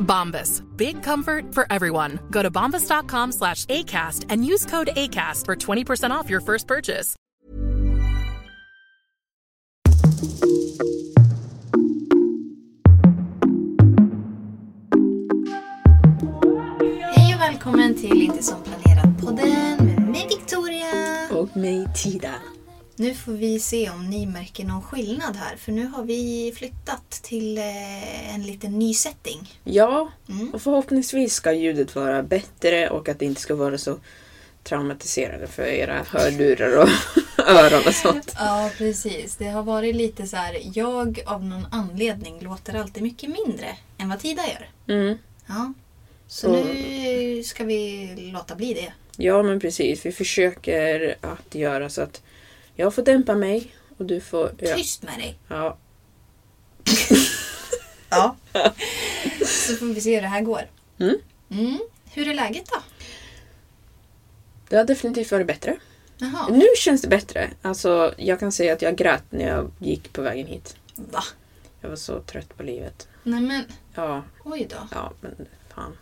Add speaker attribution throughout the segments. Speaker 1: Bombas. Big comfort for everyone. Go to bombas.com slash ACAST and use code ACAST for 20% off your first purchase.
Speaker 2: Hej och välkommen till Inte som planerat-podden med mig Victoria.
Speaker 3: Och mig Tida.
Speaker 2: Nu får vi se om ni märker någon skillnad här för nu har vi flyttat till eh, en liten ny setting.
Speaker 3: Ja, och förhoppningsvis ska ljudet vara bättre och att det inte ska vara så traumatiserande för era hörlurar och öron och sånt.
Speaker 2: Ja, precis. Det har varit lite så här, jag av någon anledning låter alltid mycket mindre än vad Tida gör.
Speaker 3: Mm.
Speaker 2: Ja. Så nu ska vi låta bli det.
Speaker 3: Ja, men precis. Vi försöker att göra så att jag får dämpa mig och du får... Ja.
Speaker 2: Tyst med dig!
Speaker 3: ja.
Speaker 2: Ja. Så får vi se hur det här går. Mm. Hur är läget då?
Speaker 3: Det har definitivt varit bättre.
Speaker 2: Jaha,
Speaker 3: Nu känns det bättre. Alltså, jag kan säga att jag grät när jag gick på vägen hit.
Speaker 2: va?
Speaker 3: Jag var så trött på livet.
Speaker 2: Nej men,
Speaker 3: Ja,
Speaker 2: oj då.
Speaker 3: ja, men fan.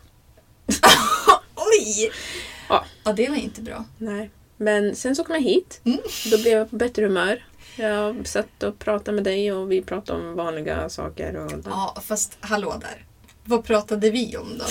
Speaker 2: Oj!
Speaker 3: Ja.
Speaker 2: ja, det var inte bra.
Speaker 3: Nej. Men sen så kom jag hit.
Speaker 2: Mm.
Speaker 3: Då blev jag på bättre humör. Jag satt och pratade med dig och vi pratade om vanliga saker. Och
Speaker 2: Ja, fast hallå där. Vad pratade vi om då?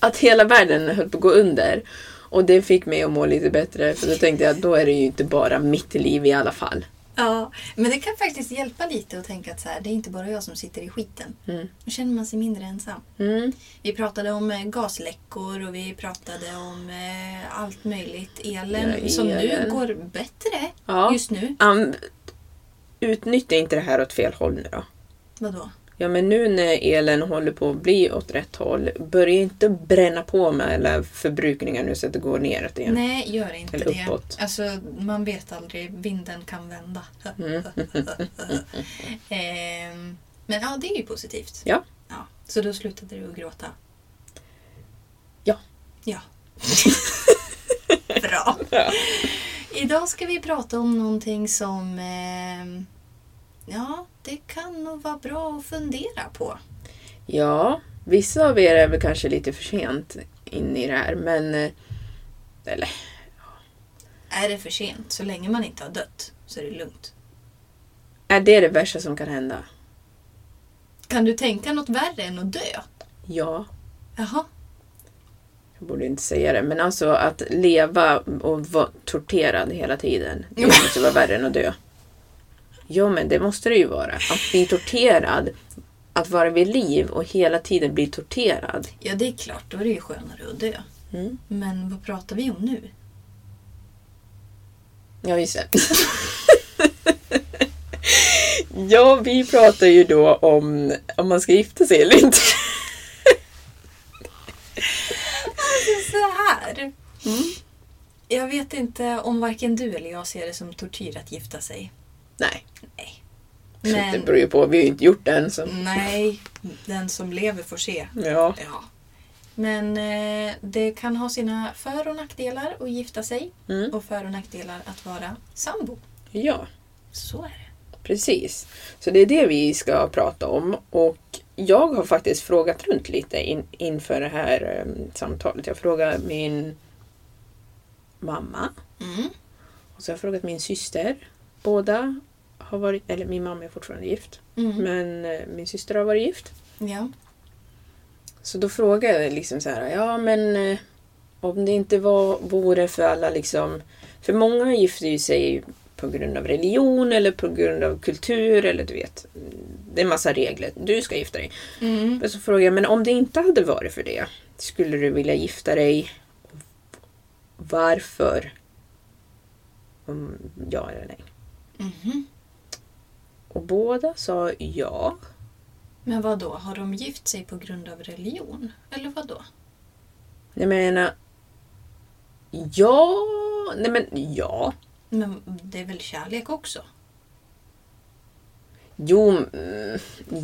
Speaker 3: Att hela världen höll på att gå under. Och det fick mig att må lite bättre. För då tänkte jag att då är det ju inte bara mitt liv i alla fall.
Speaker 2: Ja, men det kan faktiskt hjälpa lite att tänka att så här, det är inte bara jag som sitter i skiten. Då känner man sig mindre ensam.
Speaker 3: Mm.
Speaker 2: Vi pratade om eh, gasläckor och vi pratade om eh, allt möjligt. Elen
Speaker 3: Ja,
Speaker 2: som nu
Speaker 3: elen.
Speaker 2: går bättre
Speaker 3: Ja.
Speaker 2: just nu.
Speaker 3: Um, utnyttja inte det här åt fel håll nu då.
Speaker 2: Vadå?
Speaker 3: Ja men nu när elen håller på att bli åt rätt håll. Börja inte bränna på med alla förbrukningar nu så att det går neråt igen.
Speaker 2: Nej, gör inte
Speaker 3: Eller
Speaker 2: det.
Speaker 3: uppåt.
Speaker 2: Alltså, man vet aldrig. Vinden kan vända.
Speaker 3: Mm.
Speaker 2: Ehm, men ja, det är ju positivt.
Speaker 3: Ja.
Speaker 2: Ja, så då slutade du att gråta?
Speaker 3: Ja.
Speaker 2: Ja. Bra. Idag ska vi prata om någonting som... ehm, ja, det kan nog vara bra att fundera på.
Speaker 3: Ja, vissa av er är väl kanske lite för sent in i det här, men... eh, Eller,
Speaker 2: Är det för sent? Så länge man inte har dött så är det lugnt.
Speaker 3: är det det värsta som kan hända?
Speaker 2: Kan du tänka något värre än att dö?
Speaker 3: Ja,
Speaker 2: Jaha.
Speaker 3: jag borde inte säga det, men alltså att leva och vara torterad hela tiden, det
Speaker 2: Jo.
Speaker 3: måste vara värre än att dö. Ja, men det måste det ju vara. Att bli torterad, att vara vid liv och hela tiden bli torterad.
Speaker 2: Ja, det är klart. Då är det ju skönare att dö.
Speaker 3: Mm.
Speaker 2: Men vad pratar vi om nu?
Speaker 3: Ja, just det. ja, vi pratar ju då om om man ska gifta sig eller inte.
Speaker 2: Så här.
Speaker 3: Mm.
Speaker 2: Jag vet inte om varken du eller jag ser det som tortyr att gifta sig.
Speaker 3: Nej.
Speaker 2: Nej.
Speaker 3: Det
Speaker 2: Men
Speaker 3: beror ju på, vi har ju inte gjort det än så.
Speaker 2: nej, den som lever får se.
Speaker 3: Ja.
Speaker 2: Ja. Men eh, det kan ha sina för och nackdelar att gifta sig
Speaker 3: Mm.
Speaker 2: och för och nackdelar att vara sambo.
Speaker 3: Ja,
Speaker 2: Så är det.
Speaker 3: precis. Så det är det vi ska prata om. Och jag har faktiskt frågat runt lite in, inför det här eh, samtalet. Jag frågade min mamma.
Speaker 2: Mm.
Speaker 3: Och så har jag frågat min syster. Båda har varit, eller min mamma är fortfarande gift.
Speaker 2: Mm.
Speaker 3: Men eh, min syster har varit gift.
Speaker 2: Ja.
Speaker 3: Så då frågade jag liksom så här, ja men eh, om det inte var, vore för alla liksom, för många gifter ju sig på grund av religion eller på grund av kultur eller du vet, det är en massa regler, du ska gifta dig.
Speaker 2: Mm.
Speaker 3: Men så frågade jag, men om det inte hade varit för det, skulle du vilja gifta dig? Varför? Mm, Ja eller nej?
Speaker 2: Mhm.
Speaker 3: Och båda sa ja.
Speaker 2: Men vad då? har de gift sig på grund av religion? Eller vad då?
Speaker 3: Jag menar, ja, nej men ja.
Speaker 2: Men det är väl kärlek också?
Speaker 3: Jo, mm,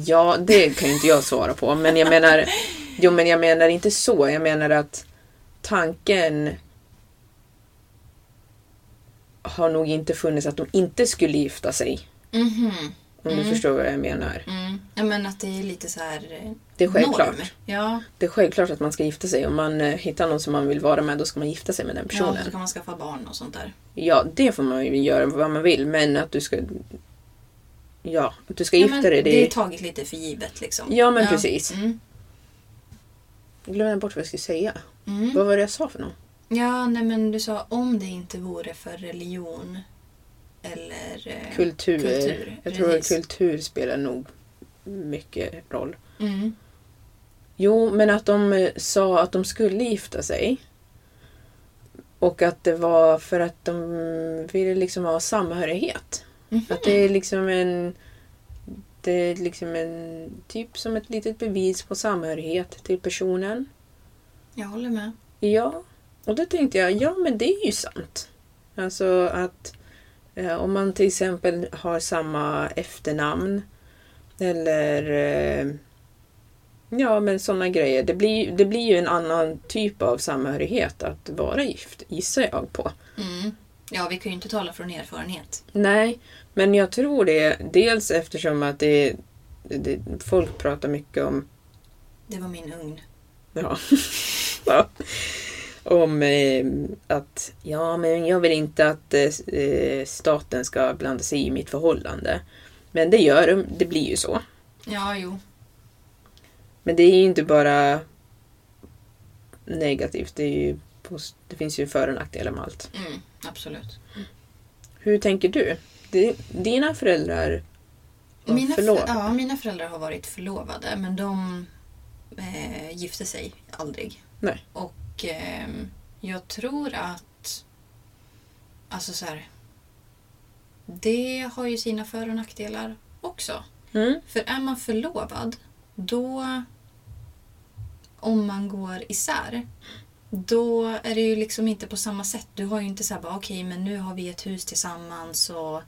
Speaker 3: ja det kan ju inte jag svara på. Men jag menar, jo, men jag menar inte så. Jag menar att tanken har nog inte funnits att de inte skulle gifta sig.
Speaker 2: Mhm.
Speaker 3: Om du förstår vad jag menar.
Speaker 2: Mm. Ja, men att det är lite så här... eh,
Speaker 3: Det är självklart.
Speaker 2: norm. Ja,
Speaker 3: Det är självklart att man ska gifta sig. Om man eh, hittar någon som man vill vara med, då ska man gifta sig med den
Speaker 2: ja,
Speaker 3: personen.
Speaker 2: så kan man skaffa barn och sånt där.
Speaker 3: Ja, det får man ju göra vad man vill. Men att du ska... Ja, att du ska
Speaker 2: Ja,
Speaker 3: gifta
Speaker 2: men
Speaker 3: dig. Det
Speaker 2: det
Speaker 3: är...
Speaker 2: är taget lite för givet liksom.
Speaker 3: Ja, men precis.
Speaker 2: Mm.
Speaker 3: Jag glömde bort vad jag skulle säga.
Speaker 2: Mm.
Speaker 3: Vad var det jag sa för något?
Speaker 2: Ja, nej men du sa om det inte vore för religion eller... eh,
Speaker 3: Kultur.
Speaker 2: Kultur,
Speaker 3: Jag tror att
Speaker 2: precis.
Speaker 3: kultur spelar nog mycket roll.
Speaker 2: Mm.
Speaker 3: Jo, men att de eh, sa att de skulle gifta sig. Och att det var för att de ville liksom ha samhörighet. Att det är liksom en... Det är liksom en... Typ som ett litet bevis på samhörighet till personen.
Speaker 2: Jag håller med.
Speaker 3: Ja, och då tänkte jag, ja men det är ju sant. Alltså att eh, om man till exempel har samma efternamn eller eh, ja men sådana grejer. Det blir, det blir ju en annan typ av samhörighet att vara gift, gissar jag på.
Speaker 2: Mm. Ja, vi kan ju inte tala från erfarenhet.
Speaker 3: Nej, men jag tror det dels eftersom att det, det folk pratar mycket om
Speaker 2: Det var min ugn.
Speaker 3: Ja. ja. Om eh, att, ja men jag vill inte att eh, s- eh, staten ska blanda sig i mitt förhållande. Men det gör de, det blir ju så.
Speaker 2: Ja, jo.
Speaker 3: Men det är ju inte bara negativt, det, är ju pos- det finns ju för och nackdelar med allt.
Speaker 2: Mm. Absolut.
Speaker 3: Hur tänker du? Di- Dina föräldrar var
Speaker 2: Mina, för,
Speaker 3: förlovade?
Speaker 2: ja, mina föräldrar har varit förlovade, men de eh, gifte sig aldrig.
Speaker 3: Nej.
Speaker 2: Och ehm, jag tror att... Alltså så här... Det har ju sina för och nackdelar också.
Speaker 3: Mm.
Speaker 2: För är man förlovad, då... Om man går isär, då är det ju liksom inte på samma sätt. Du har ju inte såhär bara okej men nu har vi ett hus tillsammans och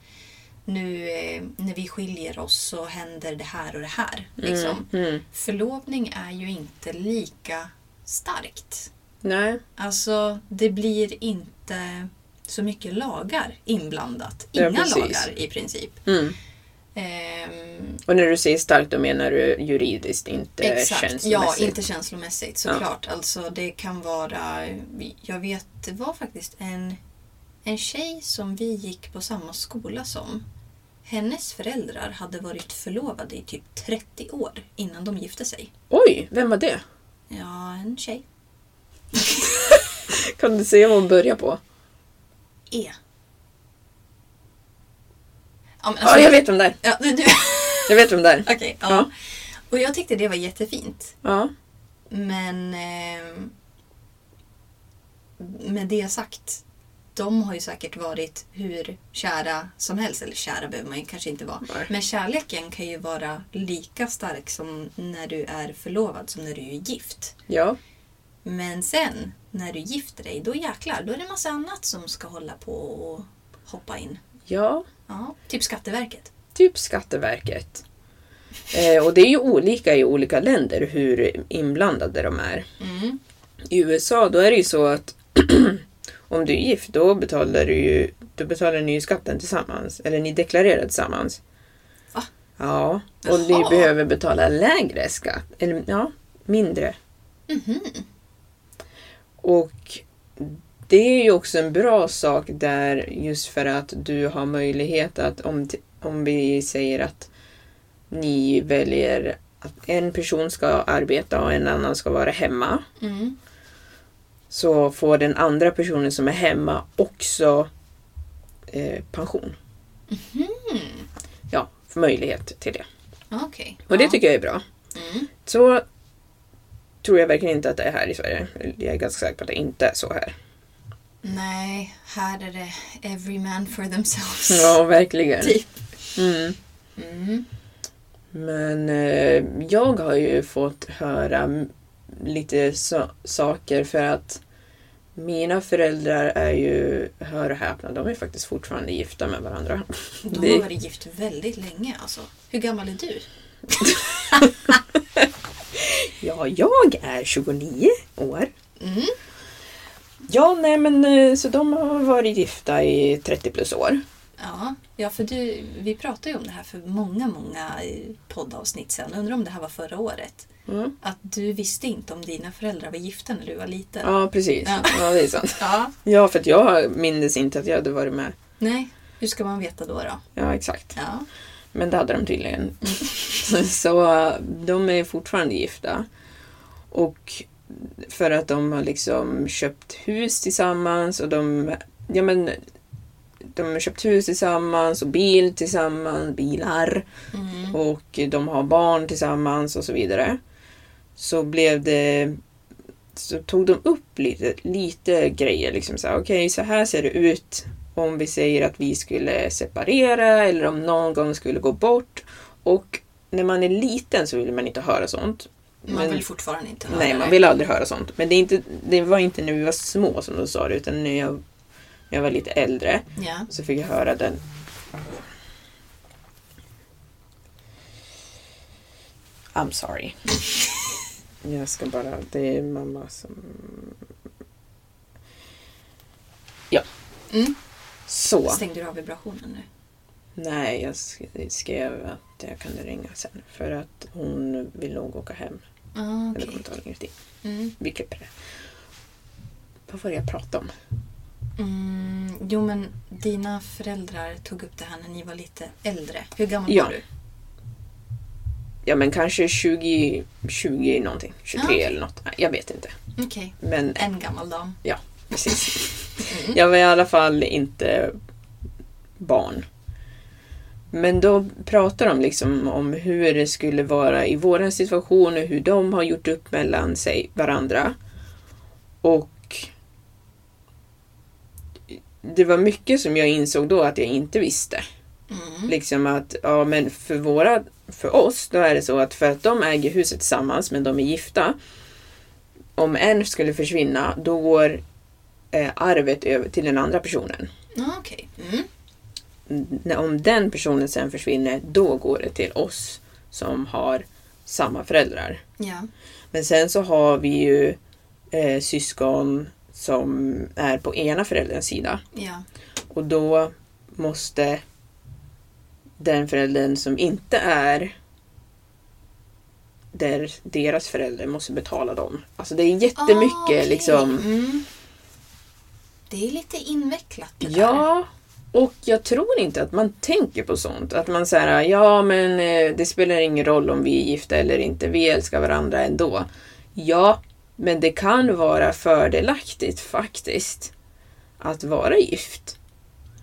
Speaker 2: nu eh, när vi skiljer oss så händer det här och det här. Liksom.
Speaker 3: Mm.
Speaker 2: Förlovning är ju inte lika starkt.
Speaker 3: Nej.
Speaker 2: Alltså det blir inte så mycket lagar inblandat.
Speaker 3: Ja,
Speaker 2: Inga
Speaker 3: precis.
Speaker 2: lagar i princip.
Speaker 3: Mm.
Speaker 2: Ehm,
Speaker 3: Och när du säger starkt då menar du juridiskt, inte
Speaker 2: Exakt, ja
Speaker 3: känslomässigt?
Speaker 2: inte känslomässigt såklart. Alltså det kan vara, jag vet det var faktiskt en, en tjej som vi gick på samma skola som. Hennes föräldrar hade varit förlovade i typ 30 år innan de gifte sig.
Speaker 3: Oj, vem var det?
Speaker 2: Ja, en tjej.
Speaker 3: Kan du säga vad hon börjar på?
Speaker 2: E. Ja, men alltså-
Speaker 3: Ja, jag vet vem det är.
Speaker 2: Ja, du, du.
Speaker 3: Jag vet vem det är.
Speaker 2: Okej, ja.
Speaker 3: Ja.
Speaker 2: Och jag tyckte det var jättefint.
Speaker 3: Ja.
Speaker 2: Men ehm, med det sagt, de har ju säkert varit hur kära som helst. Eller kära behöver man ju kanske inte vara.
Speaker 3: Nej.
Speaker 2: Men kärleken kan ju vara lika stark som när du är förlovad som när du är gift.
Speaker 3: Ja.
Speaker 2: Men sen när du gifter dig, då jäklar, då är det massa annat som ska hålla på och hoppa in.
Speaker 3: Ja.
Speaker 2: Ja, typ Skatteverket.
Speaker 3: Typ Skatteverket. Eh, och det är ju olika i olika länder hur inblandade de är.
Speaker 2: Mm.
Speaker 3: I USA då är det ju så att om du är gift då betalar du ju då betalar ni ju skatten tillsammans. Eller ni deklarerar tillsammans.
Speaker 2: Va?
Speaker 3: Ja. Och
Speaker 2: Jaha.
Speaker 3: ni behöver betala lägre skatt. Eller ja, mindre.
Speaker 2: Mhm.
Speaker 3: Och det är ju också en bra sak där just för att du har möjlighet att om, t- om vi säger att ni väljer att en person ska arbeta och en annan ska vara hemma.
Speaker 2: Mm.
Speaker 3: Så får den andra personen som är hemma också eh, pension. Ja, möjlighet till det.
Speaker 2: Mm, Okej.
Speaker 3: Och det tycker jag är bra.
Speaker 2: Mm.
Speaker 3: Så tror jag verkligen inte att det är här i Sverige. Jag är ganska säker på att det inte är så här.
Speaker 2: Nej, här är det every man for themselves.
Speaker 3: Ja, verkligen. Mm.
Speaker 2: Typ. Mm.
Speaker 3: Men eh, jag har ju fått höra m- lite sa- saker för att mina föräldrar är ju, hör och häpna, de är faktiskt fortfarande gifta med varandra.
Speaker 2: De har
Speaker 3: Det-
Speaker 2: varit gift väldigt länge alltså. Hur gammal är du?
Speaker 3: Ja, jag är 29 år.
Speaker 2: Mm.
Speaker 3: Ja, nej men eh, så de har varit gifta i 30 plus år.
Speaker 2: Ja, ja för du, vi pratade ju om det här för många, många eh, poddavsnitt sedan. Undrar om det här var förra året? Att du visste inte om dina föräldrar var gifta när du var liten?
Speaker 3: Ja, precis.
Speaker 2: Ja.
Speaker 3: Ja, det är sant.
Speaker 2: Ja.
Speaker 3: Ja, för att jag mindes inte att jag hade varit med.
Speaker 2: Nej, hur ska man veta då? då?
Speaker 3: Ja, exakt.
Speaker 2: Ja.
Speaker 3: Men det hade de tydligen. så eh, de är fortfarande gifta. Och för att de har liksom köpt hus tillsammans och de... Ja men... De har köpt hus tillsammans och bil tillsammans, bilar.
Speaker 2: Mm.
Speaker 3: Och de har barn tillsammans och så vidare. Så blev det... Så tog de upp lite, lite grejer. Liksom så här, Okej, så här ser det ut om vi säger att vi skulle separera eller om någon gång skulle gå bort. Och när man är liten så vill man inte höra sånt.
Speaker 2: Man
Speaker 3: Men-
Speaker 2: vill fortfarande inte höra
Speaker 3: Nej,
Speaker 2: det.
Speaker 3: man vill aldrig höra sånt. Men det, är inte, det var inte när vi var små som de sa det, utan när jag, när jag var lite äldre
Speaker 2: Ja.
Speaker 3: så fick jag höra den. I'm sorry. Jag ska bara... Det är mamma som... Ja.
Speaker 2: Mm.
Speaker 3: Så.
Speaker 2: Stängde du av vibrationen nu?
Speaker 3: Nej, jag sk- skrev att jag kunde ringa sen. För att hon vill nog åka hem.
Speaker 2: Ah,
Speaker 3: Men det
Speaker 2: okej.
Speaker 3: kommer ta längre tid.
Speaker 2: Mm.
Speaker 3: Vi klipper det. Vad var det jag pratade om?
Speaker 2: Mm, jo, men dina föräldrar tog upp det här när ni var lite äldre. Hur gammal
Speaker 3: Ja.
Speaker 2: var du?
Speaker 3: Ja men kanske 20, 20 någonting. 23
Speaker 2: Ja, Ah, okej.
Speaker 3: eller något. Nej, Jag vet inte.
Speaker 2: Okej.
Speaker 3: Men
Speaker 2: En gammal dam.
Speaker 3: ja, precis. Jag var i alla fall inte barn. Men då pratar de liksom om hur det skulle vara i våran situation och hur de har gjort upp mellan sig varandra. Och det var mycket som jag insåg då att jag inte visste. Liksom att, ja men för våra, för oss, då är det så att för att de äger huset tillsammans men de är gifta. Om en skulle försvinna, då går eh, arvet över till den andra personen.
Speaker 2: Ah, Okej. Mm.
Speaker 3: När- Om den personen sen försvinner, då går det till oss som har samma föräldrar.
Speaker 2: Ja.
Speaker 3: Men sen så har vi ju eh, syskon som är på ena förälderns sida.
Speaker 2: Ja.
Speaker 3: Och då måste den föräldern som inte är där deras förälder måste betala dem. Alltså det är jättemycket
Speaker 2: Ah, okej.
Speaker 3: liksom.
Speaker 2: Mm. Det är lite invecklat det där.
Speaker 3: Ja, och jag tror inte att man tänker på sånt. Att man säger ja men eh, det spelar ingen roll om vi är gifta eller inte, vi älskar varandra ändå. Ja, men det kan vara fördelaktigt faktiskt att vara gift.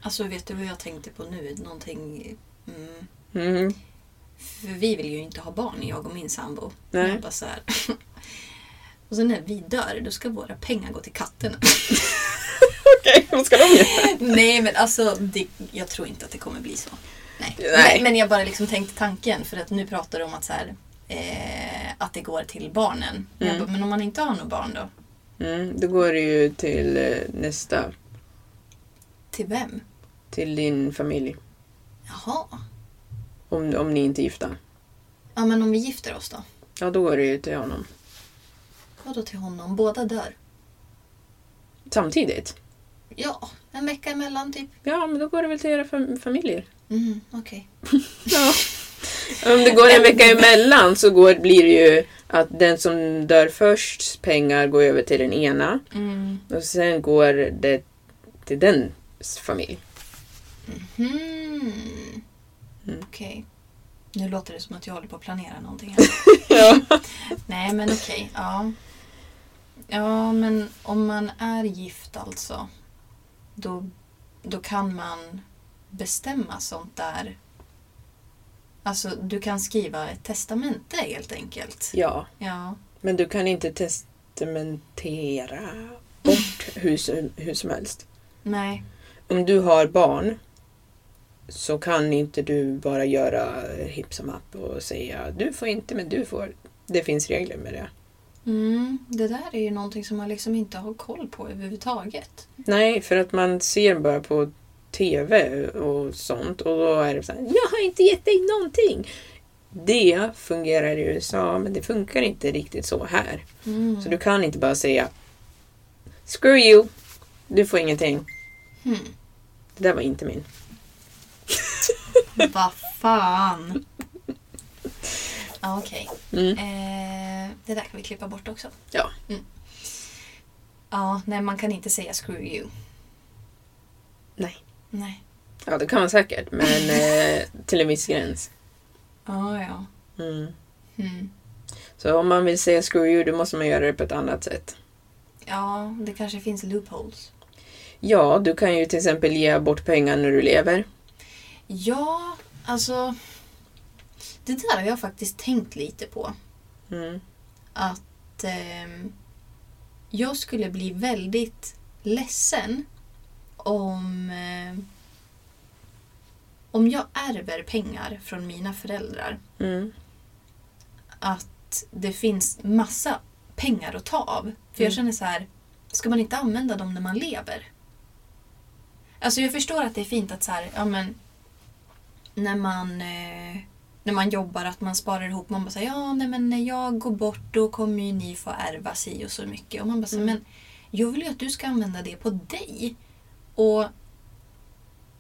Speaker 2: Alltså vet du vad jag tänkte på nu? Någonting... Mm.
Speaker 3: Mm.
Speaker 2: För vi vill ju inte ha barn, jag och min sambo.
Speaker 3: Nej.
Speaker 2: Jag bara så här. Och så när vi dör, då ska våra pengar gå till katterna.
Speaker 3: Okej, vad ska de göra?
Speaker 2: Nej men alltså, det, jag tror inte att det kommer bli så. Nej.
Speaker 3: Nej.
Speaker 2: Men, men jag bara liksom tänkte tanken för att nu pratar du om att, så här, eh, att det går till barnen. Men Jag bara, men om man inte har några barn då?
Speaker 3: Mm, då går det ju till eh, nästa,
Speaker 2: Till vem?
Speaker 3: till din familj.
Speaker 2: Jaha.
Speaker 3: Om, om ni inte är gifta.
Speaker 2: Ja men om vi gifter oss då?
Speaker 3: Ja, då är det ju till honom.
Speaker 2: Vadå till honom? Båda dör.
Speaker 3: Samtidigt.
Speaker 2: Ja, en vecka emellan typ.
Speaker 3: Ja, men då går det väl till era fam- familjer.
Speaker 2: Mm, okej.
Speaker 3: Ja. Om det går en vecka emellan så går, blir det ju att den som dör först pengar går över till den ena och sen går det till dens familj.
Speaker 2: Hmm. Okej. Nu låter det som att jag håller på att planera någonting.
Speaker 3: Ja.
Speaker 2: Nej men okej, ja. Ja men om man är gift alltså. Då, då kan man bestämma sånt där. Alltså du kan skriva ett testamente helt enkelt.
Speaker 3: ja,
Speaker 2: Ja.
Speaker 3: men du kan inte testamentera bort hur, som- hur som helst.
Speaker 2: Nej.
Speaker 3: Om du har barn så kan inte du bara göra hipp som happ och säga du får inte men du får. Det finns regler med det.
Speaker 2: Mm, det där är ju någonting som man liksom inte har koll på överhuvudtaget.
Speaker 3: Nej, för att man ser bara på TV och sånt och då är det så här, jag har inte gett dig någonting. Det fungerar i USA, men det funkar inte riktigt så här. Så du kan inte bara säga Screw you, du får ingenting. Det där var inte min.
Speaker 2: Vad fan! Ja, Okej.
Speaker 3: Mm.
Speaker 2: Eh, det där kan vi klippa bort också.
Speaker 3: Ja.
Speaker 2: Ja, nej man kan inte säga screw you.
Speaker 3: Nej.
Speaker 2: Nej.
Speaker 3: Ja, det kan man säkert, men eh, till en viss gräns.
Speaker 2: Ja, ja.
Speaker 3: Mm.
Speaker 2: Mm.
Speaker 3: Så om man vill säga screw you, då måste man göra det på ett annat sätt.
Speaker 2: Ja, det kanske finns loopholes.
Speaker 3: Ja, du kan ju till exempel ge bort pengar när du lever.
Speaker 2: Ja, alltså... Det där har jag faktiskt tänkt lite på.
Speaker 3: Mm.
Speaker 2: Att ehm, jag skulle bli väldigt ledsen om... ehm, om jag ärver pengar från mina föräldrar.
Speaker 3: Mm.
Speaker 2: Att det finns massa pengar att ta av. För
Speaker 3: Mm.
Speaker 2: jag känner så här, ska man inte använda dem när man lever? Alltså jag förstår att det är fint att så här, ja men när man, eh, när man jobbar att man sparar ihop. Man bara säger ja nej men när jag går bort då kommer ju ni få ärva si och så mycket. Och man bara säger men jag vill ju att du ska använda det på dig. Och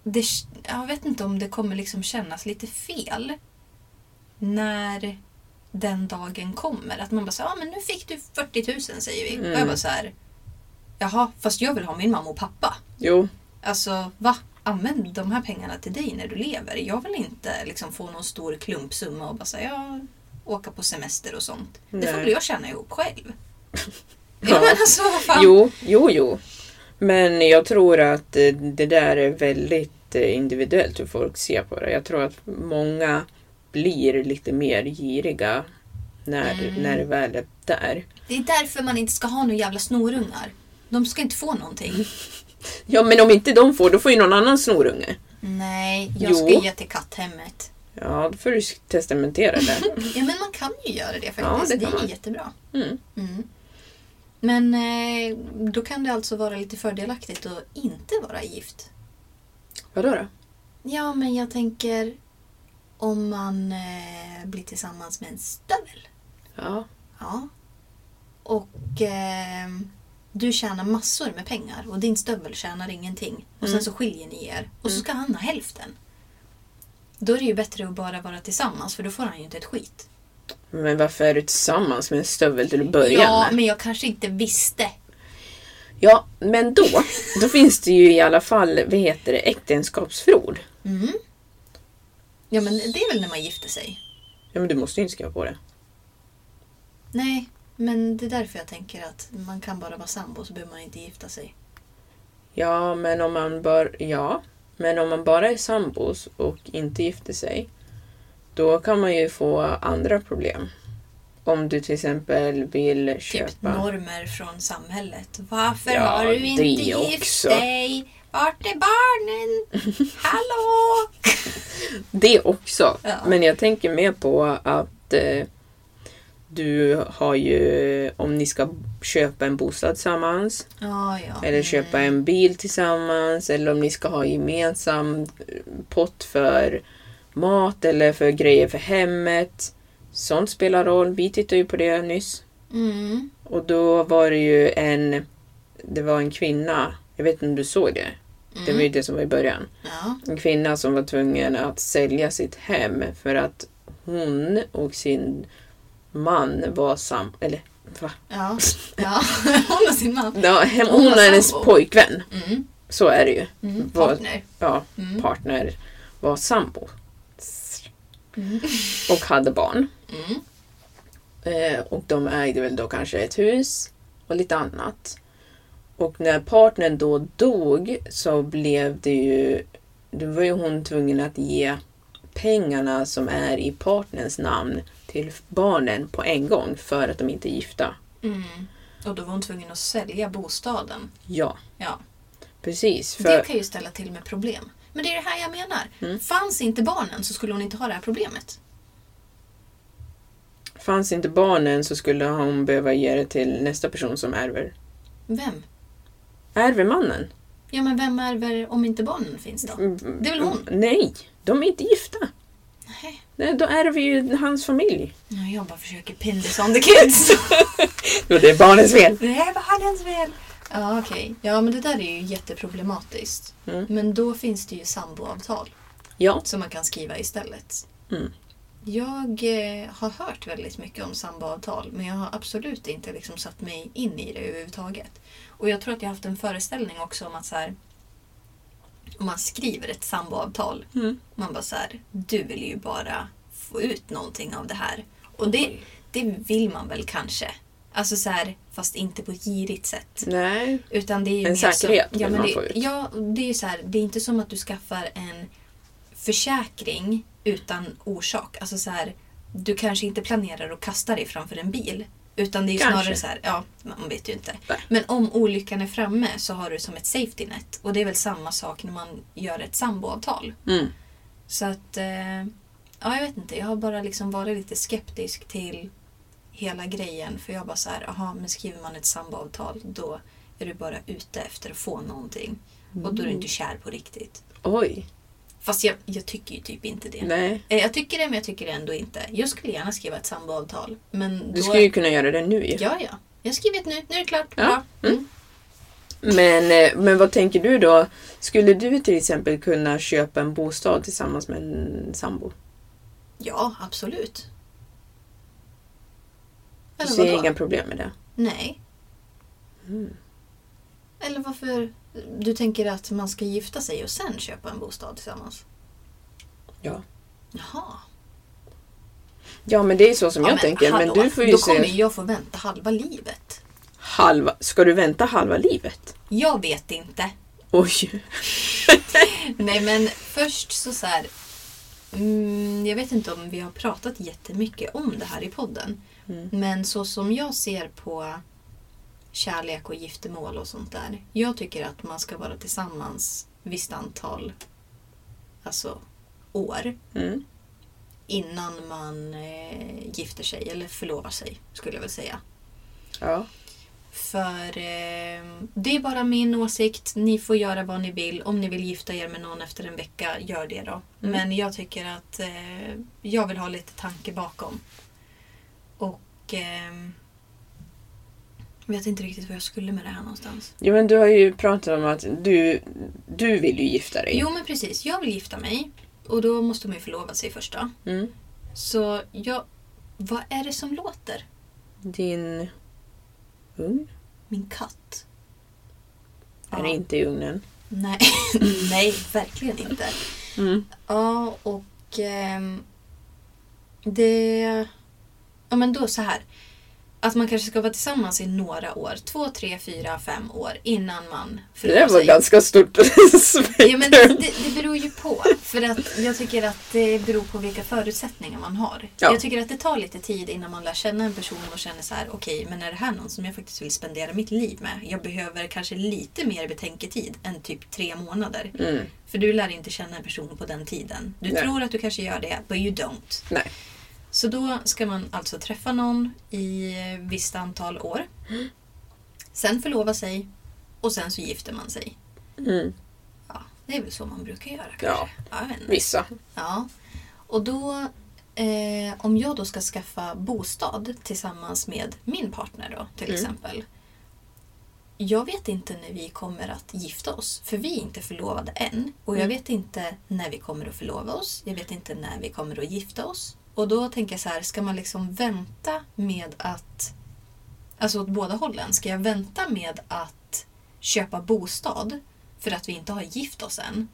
Speaker 2: det, jag vet inte om det kommer liksom kännas lite fel när den dagen kommer. Att man bara säger ja men nu fick du 40 000 säger vi. Och jag bara så här. Jaha, fast jag vill ha min mamma och pappa.
Speaker 3: Jo,
Speaker 2: Alltså, va? Använd de här pengarna till dig när du lever. Jag vill inte liksom få någon stor klumpsumma och bara säga ja, åka på semester och sånt. Det får
Speaker 3: Nej.
Speaker 2: väl jag känna ihop själv. ja.
Speaker 3: Ja.
Speaker 2: men alltså vad fan.
Speaker 3: Jo, jo, jo. Men jag tror att eh, det där är väldigt eh, individuellt hur folk ser på det. Jag tror att många blir lite mer giriga när,
Speaker 2: Mm.
Speaker 3: när det väl är där.
Speaker 2: Det är därför man inte ska ha några jävla snorungar. De ska inte få någonting.
Speaker 3: Ja, men om inte de får, då får ju någon annan snorunge.
Speaker 2: Nej, jag
Speaker 3: Jo.
Speaker 2: ska ge till katthemmet.
Speaker 3: Ja, då får du testamentera det.
Speaker 2: Ja men man kan ju göra det faktiskt.
Speaker 3: Ja,
Speaker 2: det,
Speaker 3: det kan
Speaker 2: är
Speaker 3: man.
Speaker 2: jättebra.
Speaker 3: Mm.
Speaker 2: Mm. Men eh, då kan det alltså vara lite fördelaktigt att inte vara gift.
Speaker 3: Vadå då?
Speaker 2: Ja, men jag tänker om man eh, blir tillsammans med en stövel.
Speaker 3: Ja.
Speaker 2: Ja. Och eh, du tjänar massor med pengar och din stövel tjänar ingenting. Och sen så skiljer ni er och så ska han ha hälften. Då är det ju bättre att bara vara tillsammans för då får han ju inte ett skit.
Speaker 3: Men varför är du tillsammans med en stövel till att börja
Speaker 2: Ja,
Speaker 3: med?
Speaker 2: men jag kanske inte visste.
Speaker 3: Ja, men då, då finns det ju i alla fall, vad heter det, äktenskapsförord.
Speaker 2: Ja, men det är väl när man gifter sig.
Speaker 3: Ja, men du måste ju inte skriva på det.
Speaker 2: Nej, men det är därför jag tänker att man kan bara vara sambo så behöver man inte gifta sig.
Speaker 3: Ja, men om man bör, ja, men om man bara är sambos och inte gifter sig, då kan man ju få andra problem. Om du till exempel vill köpa...
Speaker 2: typ normer från samhället. Varför
Speaker 3: Ja,
Speaker 2: har du
Speaker 3: det
Speaker 2: inte gift
Speaker 3: också.
Speaker 2: dig? Vart är barnen? Hallå!
Speaker 3: Det också.
Speaker 2: Ja.
Speaker 3: Men jag tänker mer på att eh, du har ju, om ni ska köpa en bostad tillsammans,
Speaker 2: Ja, ja.
Speaker 3: eller köpa en bil tillsammans, eller om ni ska ha gemensam eh, pott för mat eller för grejer för hemmet. Sånt spelar roll. Vi tittade ju på det nyss.
Speaker 2: Mm.
Speaker 3: Och då var det ju en... Det var en kvinna. Jag vet inte om du såg det? Det var ju det som var i början.
Speaker 2: Mm. Ja.
Speaker 3: En kvinna som var tvungen att sälja sitt hem för att hon och sin man var sam... Eller va?
Speaker 2: Ja. ja. Hon och sin man.
Speaker 3: Ja, hem,
Speaker 2: Hon
Speaker 3: hon
Speaker 2: var
Speaker 3: och hennes
Speaker 2: sambo.
Speaker 3: pojkvän.
Speaker 2: Mm.
Speaker 3: Så är det ju.
Speaker 2: Mm.
Speaker 3: Var-
Speaker 2: Partner.
Speaker 3: Ja,
Speaker 2: Mm.
Speaker 3: partner var sambo. Och hade barn.
Speaker 2: Mm.
Speaker 3: Eh, och de ägde väl då kanske ett hus och lite annat. Och när partnern då dog så blev det ju... Då var ju hon tvungen att ge pengarna som är i partnerns namn till barnen på en gång för att de inte är gifta.
Speaker 2: Mm. Och då var hon tvungen att sälja bostaden.
Speaker 3: Ja,
Speaker 2: Ja.
Speaker 3: precis. För, Mm.
Speaker 2: Det kan ju ställa till med problem. Men det är det här jag menar. Fanns inte barnen så skulle hon inte ha det här problemet.
Speaker 3: Fanns inte barnen så skulle hon behöva ge det till nästa person som ärver.
Speaker 2: Vem?
Speaker 3: Ärver mannen?
Speaker 2: Ja men vem ärver om inte barnen finns då?
Speaker 3: Mm,
Speaker 2: Det är väl hon?
Speaker 3: Nej, de är inte gifta.
Speaker 2: Nej.
Speaker 3: Nej, Då ärver ju hans familj.
Speaker 2: Ja, jag bara försöker pin this on the kids.
Speaker 3: Jo, det är barnens fel.
Speaker 2: det är barnens fel. Ja okej. Ja men det där är ju jätteproblematiskt. Men då finns det ju samboavtal.
Speaker 3: Ja.
Speaker 2: som man kan skriva istället.
Speaker 3: Mm.
Speaker 2: Jag eh, har hört väldigt mycket om samboavtal men jag har absolut inte liksom satt mig in i det överhuvudtaget. Och jag tror att jag har haft en föreställning också om att så här, om man skriver ett samboavtal,
Speaker 3: Mm.
Speaker 2: man bara så här, du vill ju bara få ut någonting av det här. Och det, det vill man väl kanske. Alltså så här, fast inte på ett girigt sätt.
Speaker 3: Nej.
Speaker 2: Utan det är ju
Speaker 3: Mm. En
Speaker 2: mer
Speaker 3: säkerhet
Speaker 2: som, ja, men
Speaker 3: vill man
Speaker 2: det,
Speaker 3: få ut.
Speaker 2: Ja, det är ju så här, det är inte som att du skaffar en försäkring utan orsak. Alltså så här, du kanske inte planerar att kasta dig framför en bil. Utan det är ju
Speaker 3: Kanske.
Speaker 2: snarare så här, ja, man vet ju inte.
Speaker 3: Nej.
Speaker 2: Men om olyckan är framme så har du som ett safety net. Och det är väl samma sak när man gör ett samboavtal.
Speaker 3: Mm.
Speaker 2: Så att, eh, ja jag vet inte. Jag har bara liksom varit lite skeptisk till hela grejen. För jag bara så här, aha, men skriver man ett samboavtal då är du bara ute efter att få någonting. Och då är du
Speaker 3: Mm.
Speaker 2: inte kär på riktigt.
Speaker 3: Oj.
Speaker 2: Fast jag, jag tycker ju typ inte det.
Speaker 3: Nej.
Speaker 2: Eh, Jag tycker det men jag tycker det ändå inte. Jag skulle gärna skriva ett samboavtal. Men
Speaker 3: Du
Speaker 2: då...
Speaker 3: skulle ju kunna göra det nu ju.
Speaker 2: Ja, ja. Jag skriver ett nu. Nu är det klart.
Speaker 3: Ja.
Speaker 2: Bra. Mm.
Speaker 3: Men, eh, men vad tänker du då? Skulle du till exempel kunna köpa en bostad tillsammans med en sambo?
Speaker 2: Ja, absolut.
Speaker 3: Du
Speaker 2: Eller
Speaker 3: ser
Speaker 2: vadå?
Speaker 3: inga problem med det?
Speaker 2: Nej.
Speaker 3: Mm.
Speaker 2: Eller varför... Du tänker att man ska gifta sig och sen köpa en bostad tillsammans?
Speaker 3: Ja.
Speaker 2: Jaha.
Speaker 3: Ja, men det är så som
Speaker 2: Ja,
Speaker 3: jag tänker.
Speaker 2: hallå,
Speaker 3: Men du får ju
Speaker 2: Då
Speaker 3: se
Speaker 2: kommer ju jag få vänta halva livet.
Speaker 3: halva... Ska du vänta halva livet?
Speaker 2: Jag vet inte.
Speaker 3: Oj.
Speaker 2: Nej men först så så här. Mm, jag vet inte om vi har pratat jättemycket om det här i podden. Men så som jag ser på kärlek och giftermål och sånt där. Jag tycker att man ska vara tillsammans visst antal alltså, år
Speaker 3: Mm.
Speaker 2: innan man eh, gifter sig eller förlovar sig skulle jag väl säga.
Speaker 3: Ja.
Speaker 2: För eh, det är bara min åsikt. Ni får göra vad ni vill. Om ni vill gifta er med någon efter en vecka, gör det då. Men jag tycker att eh, jag vill ha lite tanke bakom. Och eh, vet inte riktigt vad jag skulle med det här någonstans.
Speaker 3: Jo, men du har ju pratat om att du, du vill ju gifta dig.
Speaker 2: Jo men precis, jag vill gifta mig. Och då måste man ju förlova sig först då.
Speaker 3: Mm.
Speaker 2: Så jag, vad är det som låter?
Speaker 3: Din ugn
Speaker 2: Min katt.
Speaker 3: är
Speaker 2: Ja.
Speaker 3: inte i ugnen.
Speaker 2: Nej, nej verkligen inte.
Speaker 3: Mm.
Speaker 2: Ja, och ehm, det... Ja, men då så här. Att man kanske ska vara tillsammans i några år. Två, tre, fyra, fem år innan man
Speaker 3: Det där var ganska stort
Speaker 2: Ja, men det, det, det beror ju på. För att jag tycker att det beror på vilka förutsättningar man har.
Speaker 3: Ja.
Speaker 2: Jag tycker att det tar lite tid innan man lär känna en person och känner så här, okej, men är det här någon som jag faktiskt vill spendera mitt liv med? Jag behöver kanske lite mer betänketid än typ tre månader.
Speaker 3: Mm.
Speaker 2: För du lär inte känna en person på den tiden. Du
Speaker 3: Nej.
Speaker 2: tror att du kanske gör det, but you don't.
Speaker 3: Nej.
Speaker 2: Så då ska man alltså träffa någon i eh, visst antal år. Sen förlova sig och sen så gifter man sig.
Speaker 3: Mm.
Speaker 2: Ja, det är väl så man brukar göra
Speaker 3: Ja.
Speaker 2: kanske. Ja, jag vet inte.
Speaker 3: Vissa.
Speaker 2: ja. Och då eh, om jag då ska skaffa bostad tillsammans med min partner då till exempel. Jag vet inte när vi kommer att gifta oss, för vi är inte förlovade än. Och jag vet inte när vi kommer att förlova oss. Jag vet inte när vi kommer att gifta oss. Och då tänker jag så här, ska man liksom vänta med att... Alltså åt båda hållen. Ska jag vänta med att köpa bostad för att vi inte har gift oss än?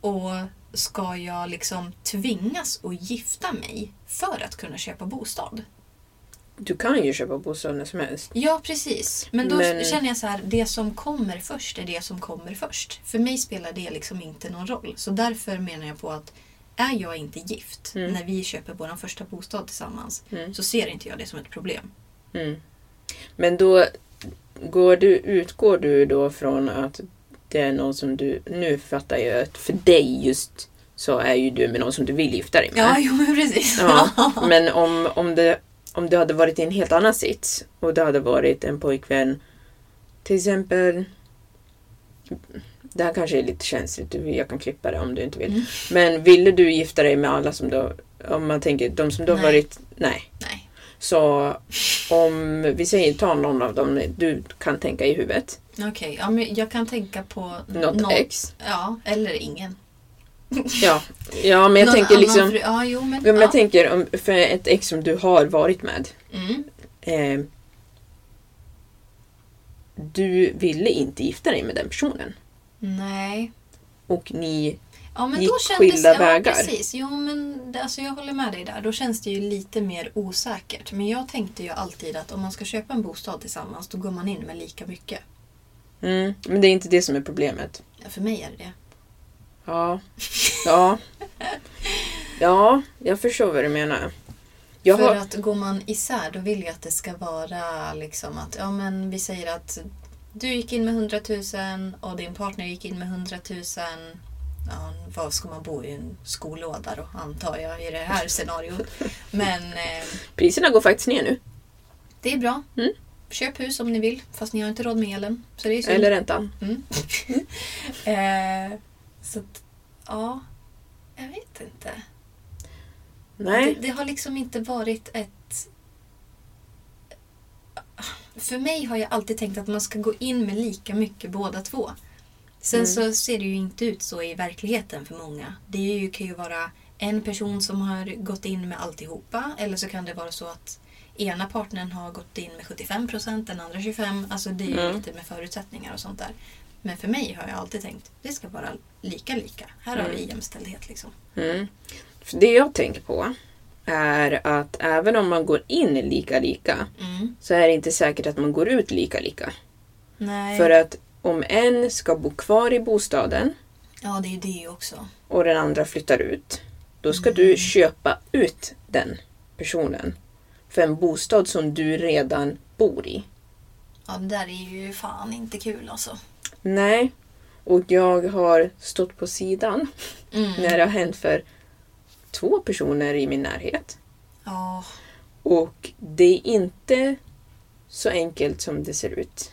Speaker 2: Och ska jag liksom tvingas att gifta mig för att kunna köpa bostad?
Speaker 3: Du kan ju köpa bostad när som helst.
Speaker 2: Ja, precis. Men då
Speaker 3: Men-
Speaker 2: känner jag så här, det som kommer först är det som kommer först. För mig spelar det liksom inte någon roll. Så därför menar jag på att är jag inte gift
Speaker 3: Mm.
Speaker 2: när vi köper vår första bostad tillsammans så ser inte jag det som ett problem.
Speaker 3: Men då går du, utgår du då från att det är någon som du... Nu fattar jag att för dig just så är ju du med någon som du vill gifta dig med.
Speaker 2: Ja, jo men precis.
Speaker 3: Ja, men om, om, det, om du hade varit i en helt annan sits och det hade varit en pojkvän, till exempel... Det här kanske är lite känsligt, du- jag kan klippa det om du inte vill.
Speaker 2: Mm.
Speaker 3: Men ville du gifta dig med alla som du... Om man tänker, de som du har
Speaker 2: Nej.
Speaker 3: varit... Nej.
Speaker 2: Nej.
Speaker 3: Så om vi säger ta någon av dem du kan tänka i huvudet.
Speaker 2: Okej, ja, men jag kan tänka på...
Speaker 3: Något
Speaker 2: någon-
Speaker 3: ex.
Speaker 2: Ja, eller ingen.
Speaker 3: Ja, ja men jag
Speaker 2: Någon
Speaker 3: tänker
Speaker 2: annan
Speaker 3: liksom...
Speaker 2: fru- Ja, jo men...
Speaker 3: Ja, men
Speaker 2: ja.
Speaker 3: jag tänker om, för ett ex som du har varit med.
Speaker 2: Mm.
Speaker 3: Eh, du ville inte gifta dig med den personen.
Speaker 2: Nej.
Speaker 3: Och ni...
Speaker 2: Ja, men
Speaker 3: gick
Speaker 2: då kändes,
Speaker 3: skilda
Speaker 2: ja,
Speaker 3: vägar.
Speaker 2: Precis. Jo, men det, alltså jag håller med dig där. Då känns det ju lite mer osäkert. Men jag tänkte ju alltid att om man ska köpa en bostad tillsammans då går man in med lika mycket.
Speaker 3: Mm, men det är inte det som är problemet.
Speaker 2: Ja, För mig är det det.
Speaker 3: Ja. Ja. Ja, jag förstår vad du menar. Jag
Speaker 2: För
Speaker 3: har...
Speaker 2: att går man isär då vill jag att det ska vara liksom att, ja men vi säger att du gick in med 100 000 och din partner gick in med 100 000. Ja, vad ska man bo i en skolåda då antar jag i det här scenariot. Men eh,
Speaker 3: Priserna går faktiskt ner nu.
Speaker 2: det är bra.
Speaker 3: Mm.
Speaker 2: Köp hus om ni vill fast ni har inte råd med elen. Så det är synd.
Speaker 3: Eller räntan.
Speaker 2: Mm. eh, så att, ja. Jag vet inte.
Speaker 3: Nej.
Speaker 2: Det, det har liksom inte varit ett... För mig har jag alltid tänkt att man ska gå in med lika mycket båda två. Sen så ser det ju inte ut så i verkligheten för många. Det är ju, kan ju vara en person som har gått in med alltihopa eller så kan det vara så att ena partnern har gått in med 75 procent, den andra 25. Alltså det är ju lite med förutsättningar och sånt där. Men för mig har jag alltid tänkt det ska vara lika lika. Här har vi jämställdhet liksom.
Speaker 3: För det jag tänker på är att även om man går in lika lika
Speaker 2: Mm.
Speaker 3: så är det inte säkert att man går ut lika lika.
Speaker 2: Nej.
Speaker 3: För att om en ska bo kvar i bostaden
Speaker 2: Ja, det är ju det också.
Speaker 3: och den andra flyttar ut, då ska du köpa ut den personen för en bostad som du redan bor i.
Speaker 2: Ja, det där är ju fan inte kul alltså.
Speaker 3: Nej, och jag har stått på sidan när det har hänt för två personer i min närhet.
Speaker 2: Ja,
Speaker 3: Och det är inte så enkelt som det ser ut.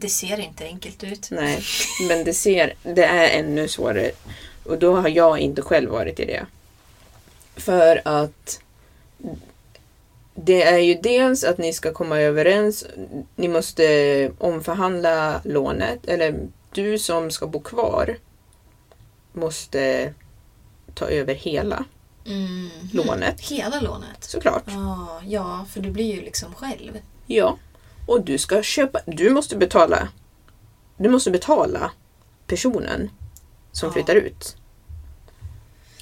Speaker 2: det ser inte enkelt ut.
Speaker 3: Nej, men det, ser, det är ännu svårare. Och då har jag inte själv varit i det. För att det är ju dels att ni ska komma överens. Ni måste omförhandla lånet. Eller du som ska bo kvar måste ta över hela
Speaker 2: Mm.
Speaker 3: lånet.
Speaker 2: Hela lånet.
Speaker 3: Såklart.
Speaker 2: Ja, ja, för du blir ju liksom själv.
Speaker 3: Ja, och du ska köpa, du måste betala. Du måste betala personen som
Speaker 2: Ja.
Speaker 3: flyttar ut.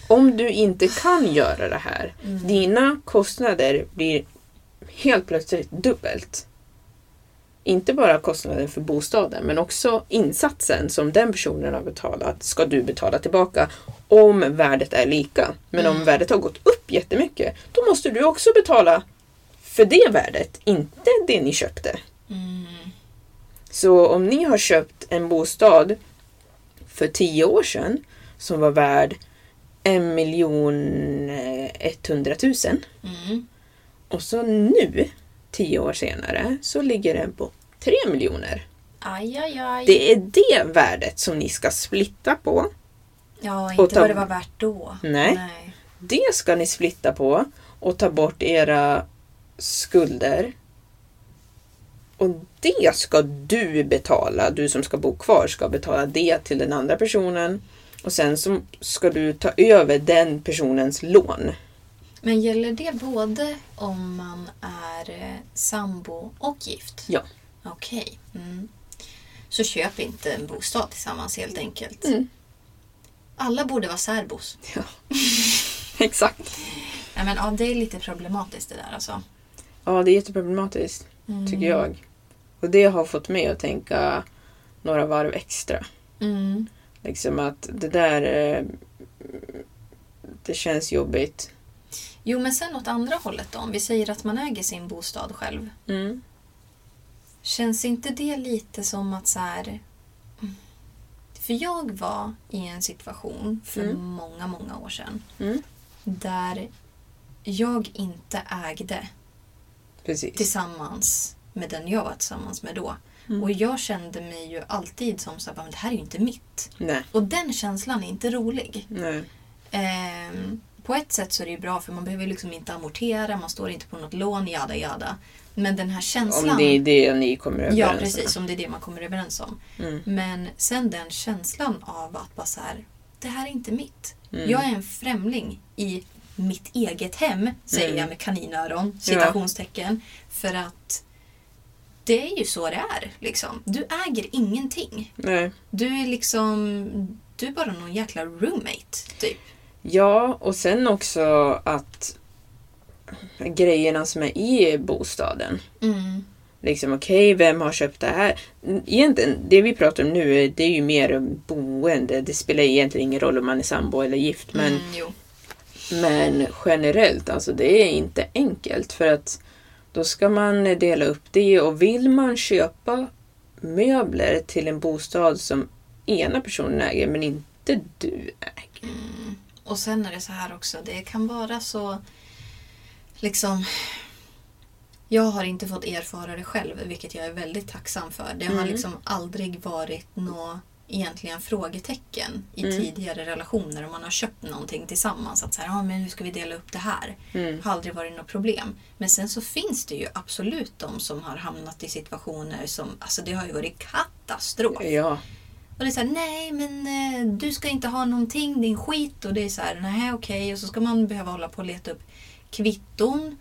Speaker 3: Om du inte kan göra det här, dina kostnader blir helt plötsligt dubbelt. Inte bara kostnaden för bostaden men också insatsen som den personen har betalat ska du betala tillbaka om värdet är lika. Men om värdet har gått upp jättemycket då måste du också betala för det värdet, inte det ni köpte. Så om ni har köpt en bostad för 10 år sedan som var värd 1 miljon 100 000 och så nu, 10 år senare, så ligger den på 3 miljoner.
Speaker 2: Aj, aj, aj.
Speaker 3: Det är det värdet som ni ska splitta på.
Speaker 2: Ja,
Speaker 3: och
Speaker 2: inte
Speaker 3: ta-
Speaker 2: vad det var värt då.
Speaker 3: Nej. Det ska ni splitta på och ta bort era skulder. Och det ska du betala. Du som ska bo kvar ska betala det till den andra personen. Och sen så ska du ta över den personens lån.
Speaker 2: Men gäller det både om man är eh, sambo och gift?
Speaker 3: Ja.
Speaker 2: Okej. Mm. Så köp inte en bostad tillsammans helt enkelt.
Speaker 3: Mm.
Speaker 2: Alla borde vara särbos.
Speaker 3: ja. Exakt.
Speaker 2: Nej, men, ja, det är lite problematiskt det där alltså.
Speaker 3: Ja, det är jätteproblematiskt tycker jag. Och det har fått mig att tänka några varv extra.
Speaker 2: Mm.
Speaker 3: Liksom att det där... eh, Det känns jobbigt.
Speaker 2: Jo, men sen åt andra hållet då. Om vi säger att man äger sin bostad själv.
Speaker 3: Mm.
Speaker 2: Känns inte det lite som att så här... Mm. För jag var i en situation för många, många år sedan
Speaker 3: Mm.
Speaker 2: där jag inte ägde
Speaker 3: Precis.
Speaker 2: tillsammans med den jag var tillsammans med då.
Speaker 3: Mm.
Speaker 2: Och jag kände mig ju alltid som så här, men det här är ju inte mitt.
Speaker 3: Nej.
Speaker 2: Och den känslan är inte rolig.
Speaker 3: Nej.
Speaker 2: Ehm, på ett sätt så är det ju bra för man behöver liksom inte amortera, man står inte på något lån, jada jada. Men den här känslan...
Speaker 3: Om det är det ni kommer överens
Speaker 2: Ja,
Speaker 3: om. Mm.
Speaker 2: precis. Om det är det man kommer överens om. Men sen den känslan av att bara så här, det här är inte mitt.
Speaker 3: Mm.
Speaker 2: Jag är en främling i mitt eget hem, säger
Speaker 3: Mm.
Speaker 2: jag med kaninöron, citationstecken. För att det är ju så det är. Liksom. Du äger ingenting.
Speaker 3: Nej.
Speaker 2: Du är liksom, du är bara någon jäkla roommate, typ.
Speaker 3: Ja, och sen också att grejerna som är i bostaden.
Speaker 2: Mm.
Speaker 3: Liksom okej, vem har köpt det här? Egentligen, det vi pratar om nu är, det är ju mer boende. Det spelar egentligen ingen roll om man är sambo eller gift. Men
Speaker 2: Mm, jo.
Speaker 3: Men generellt, alltså det är inte enkelt för att då ska man dela upp det och vill man köpa möbler till en bostad som ena personen äger men inte du äger.
Speaker 2: Och sen är det så här också, det kan vara så liksom... Jag har inte fått erfara det själv, vilket jag är väldigt tacksam för. Det har liksom aldrig varit något egentligen frågetecken i tidigare relationer om man har köpt någonting tillsammans. Att så här, ah, men hur ska vi dela upp det här? har aldrig varit något problem. Men sen så finns det ju absolut de som har hamnat i situationer som, alltså det har ju varit katastrof.
Speaker 3: Ja,
Speaker 2: Och det är såhär, nej men eh, du ska inte ha någonting, din skit. Och det är såhär, nej okej. Och så ska man behöva hålla på och leta upp kvitton.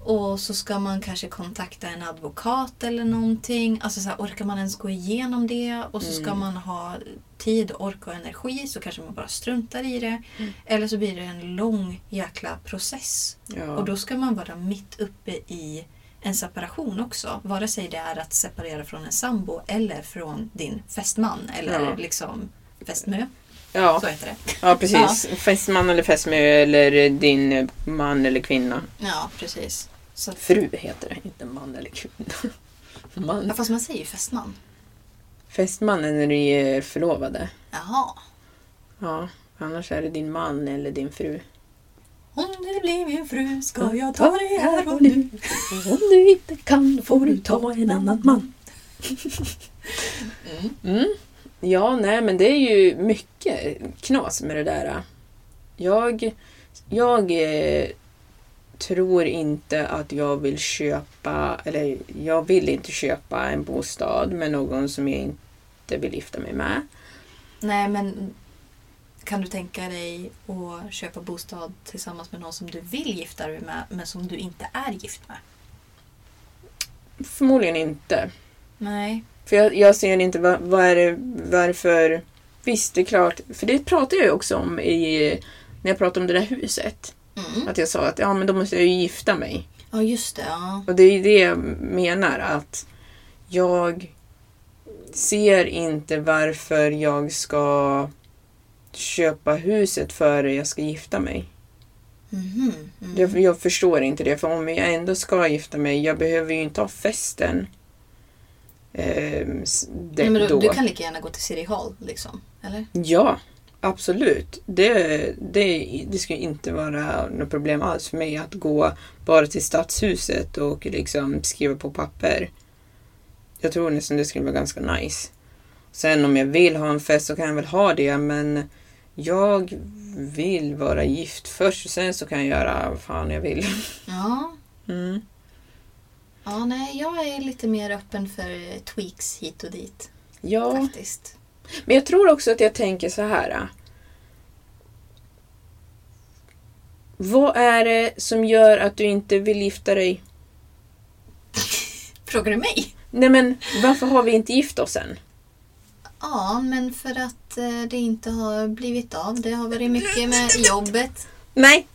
Speaker 2: Och så ska man kanske kontakta en advokat eller någonting. Alltså så här, orkar man ens gå igenom det? Och så ska man ha tid, ork och energi så kanske man bara struntar i det. Eller så blir det en lång jäkla process.
Speaker 3: Ja.
Speaker 2: Och då ska man vara mitt uppe i en separation också. Vare sig det är att separera från en sambo eller från din fästman eller
Speaker 3: Ja.
Speaker 2: liksom fästmö.
Speaker 3: ja.
Speaker 2: Så heter det.
Speaker 3: ja precis. Fästman eller fästmö eller din man eller kvinna.
Speaker 2: Ja, precis. Så att,
Speaker 3: Fru heter det, inte man eller kvinna. Man.
Speaker 2: ja, fast man säger ju fästman.
Speaker 3: Fästmannen när du är förlovade.
Speaker 2: Jaha.
Speaker 3: Ja, annars är det din man eller din fru.
Speaker 2: Om du blir min fru ska jag ta dig här och nu.
Speaker 3: Om du inte kan får du ta en annan man. Mm. Ja, nej men det är ju mycket knas med det där. Jag, jag eh, tror inte att jag vill köpa, eller jag vill inte köpa en bostad med någon som jag inte vill gifta mig med.
Speaker 2: Nej, men kan du tänka dig att köpa bostad tillsammans med någon som du vill gifta dig med men som du inte är gift med?
Speaker 3: Förmodligen inte.
Speaker 2: Nej.
Speaker 3: För jag, jag ser inte va- vad är det, varför... Visst, det är klart. För det pratade jag ju också om i, när jag pratade om det där huset.
Speaker 2: Mm.
Speaker 3: Att jag sa att ja, men då måste jag ju gifta mig.
Speaker 2: Ja, just det. Ja.
Speaker 3: Och det är ju det jag menar att jag ser inte varför jag ska köpa huset före jag ska gifta mig.
Speaker 2: Mhm. Mm.
Speaker 3: Jag, jag förstår inte det, för om jag ändå ska gifta mig, jag behöver ju inte ha festen. ehm, s- det,
Speaker 2: Nej, men
Speaker 3: då.
Speaker 2: du, du kan lika gärna gå till City Hall, liksom. Eller?
Speaker 3: Ja, absolut. Det, det, det skulle inte vara något problem alls för mig att gå bara till stadshuset och liksom skriva på papper. Jag tror nästan det skulle vara ganska nice. Sen om jag vill ha en fest så kan jag väl ha det men jag vill vara gift först och sen så kan jag göra vad fan jag vill.
Speaker 2: Ja. Ja, nej, jag är lite mer öppen för eh, tweaks hit och dit.
Speaker 3: Ja,
Speaker 2: Faktiskt.
Speaker 3: men jag tror också att jag tänker så här. äh. Vad är det som gör att du inte vill gifta dig?
Speaker 2: Frågar du mig?
Speaker 3: Nej men varför har vi inte gift oss än?
Speaker 2: Ja, men för att eh, det inte har blivit av. Det har varit mycket med jobbet.
Speaker 3: Nej,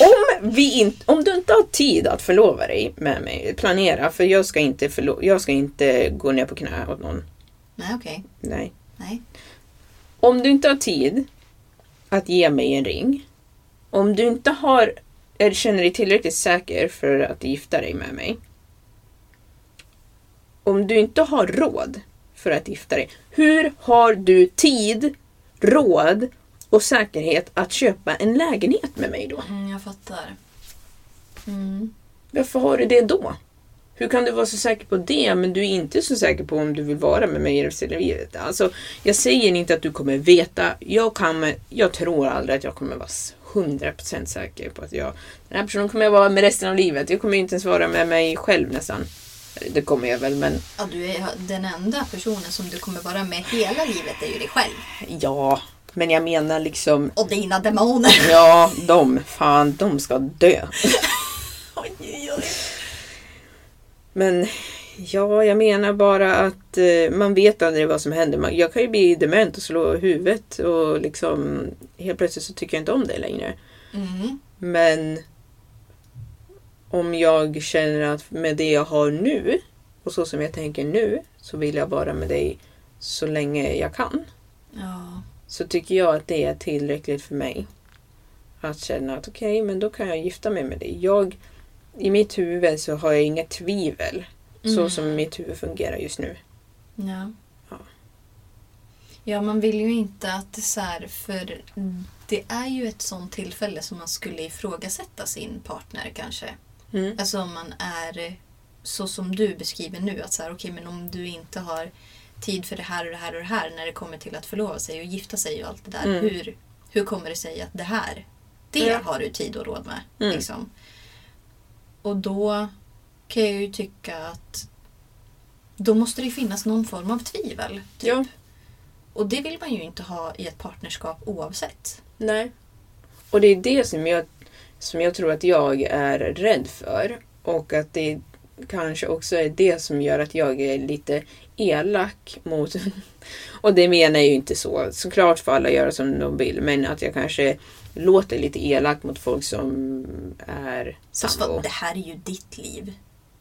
Speaker 3: om, vi in, om du inte har tid att förlova dig med mig, planera, för jag ska inte, förlo- jag ska inte gå ner på knä åt någon.
Speaker 2: Nej, okej.
Speaker 3: Nej.
Speaker 2: Nej.
Speaker 3: Om du inte har tid att ge mig en ring, om du inte har, eller känner dig tillräckligt säker för att gifta dig med mig, om du inte har råd för att gifta dig, hur har du tid, råd och säkerhet att köpa en lägenhet med mig då?
Speaker 2: Mm, jag fattar. Mm.
Speaker 3: Varför har du det då? Hur kan du vara så säker på det men du är inte så säker på om du vill vara med mig i resten av livet? Alltså, jag säger inte att du kommer veta. Jag, kan, jag tror aldrig att jag kommer vara 100% säker på att jag... Den här personen kommer jag vara med resten av livet. Jag kommer ju inte ens vara med mig själv nästan. Eller, Det kommer jag väl men
Speaker 2: Ja, du är den enda personen som du kommer vara med hela livet är ju dig själv.
Speaker 3: ja. Men jag menar liksom...
Speaker 2: Och dina demoner.
Speaker 3: Ja, de. Fan, de ska dö.
Speaker 2: Oj, oj, oj.
Speaker 3: Men ja, jag menar bara att eh, man vet aldrig vad som händer. Man, jag kan ju bli dement och slå huvudet och liksom helt plötsligt så tycker jag inte om det längre.
Speaker 2: Mm.
Speaker 3: Men om jag känner att med det jag har nu och så som jag tänker nu så vill jag vara med dig så länge jag kan.
Speaker 2: Ja.
Speaker 3: Så tycker jag att det är tillräckligt för mig. Att känna att okej, men då kan jag gifta mig med dig. Jag, I mitt huvud så har jag inga tvivel så
Speaker 2: Mm.
Speaker 3: som mitt huvud fungerar just nu. typ.
Speaker 2: Ja.
Speaker 3: Ja.
Speaker 2: Ja, man vill ju inte att det så här, för det är ju ett sånt tillfälle som man skulle ifrågasätta sin partner kanske.
Speaker 3: Mm.
Speaker 2: Alltså om man är så som du beskriver nu, att så här, okej men om du inte har tid för det här och det här och det här när det kommer till att förlova sig och gifta sig och allt det där.
Speaker 3: Mm.
Speaker 2: Hur, hur kommer det sig att det här, det
Speaker 3: Ja.
Speaker 2: har du tid och råd med?
Speaker 3: Mm.
Speaker 2: Liksom. Och då kan jag ju tycka att då måste det ju finnas någon form av tvivel. Typ.
Speaker 3: Ja.
Speaker 2: Och det vill man ju inte ha i ett partnerskap oavsett.
Speaker 3: Nej. Och det är det som jag, som jag tror att jag är rädd för. Och att det kanske också är det som gör att jag är lite elak mot... Och det menar jag ju inte så. Såklart får alla göra som de vill. Men att jag kanske låter lite elak mot folk som är
Speaker 2: Fast
Speaker 3: sambo.
Speaker 2: vad, det här är ju ditt liv.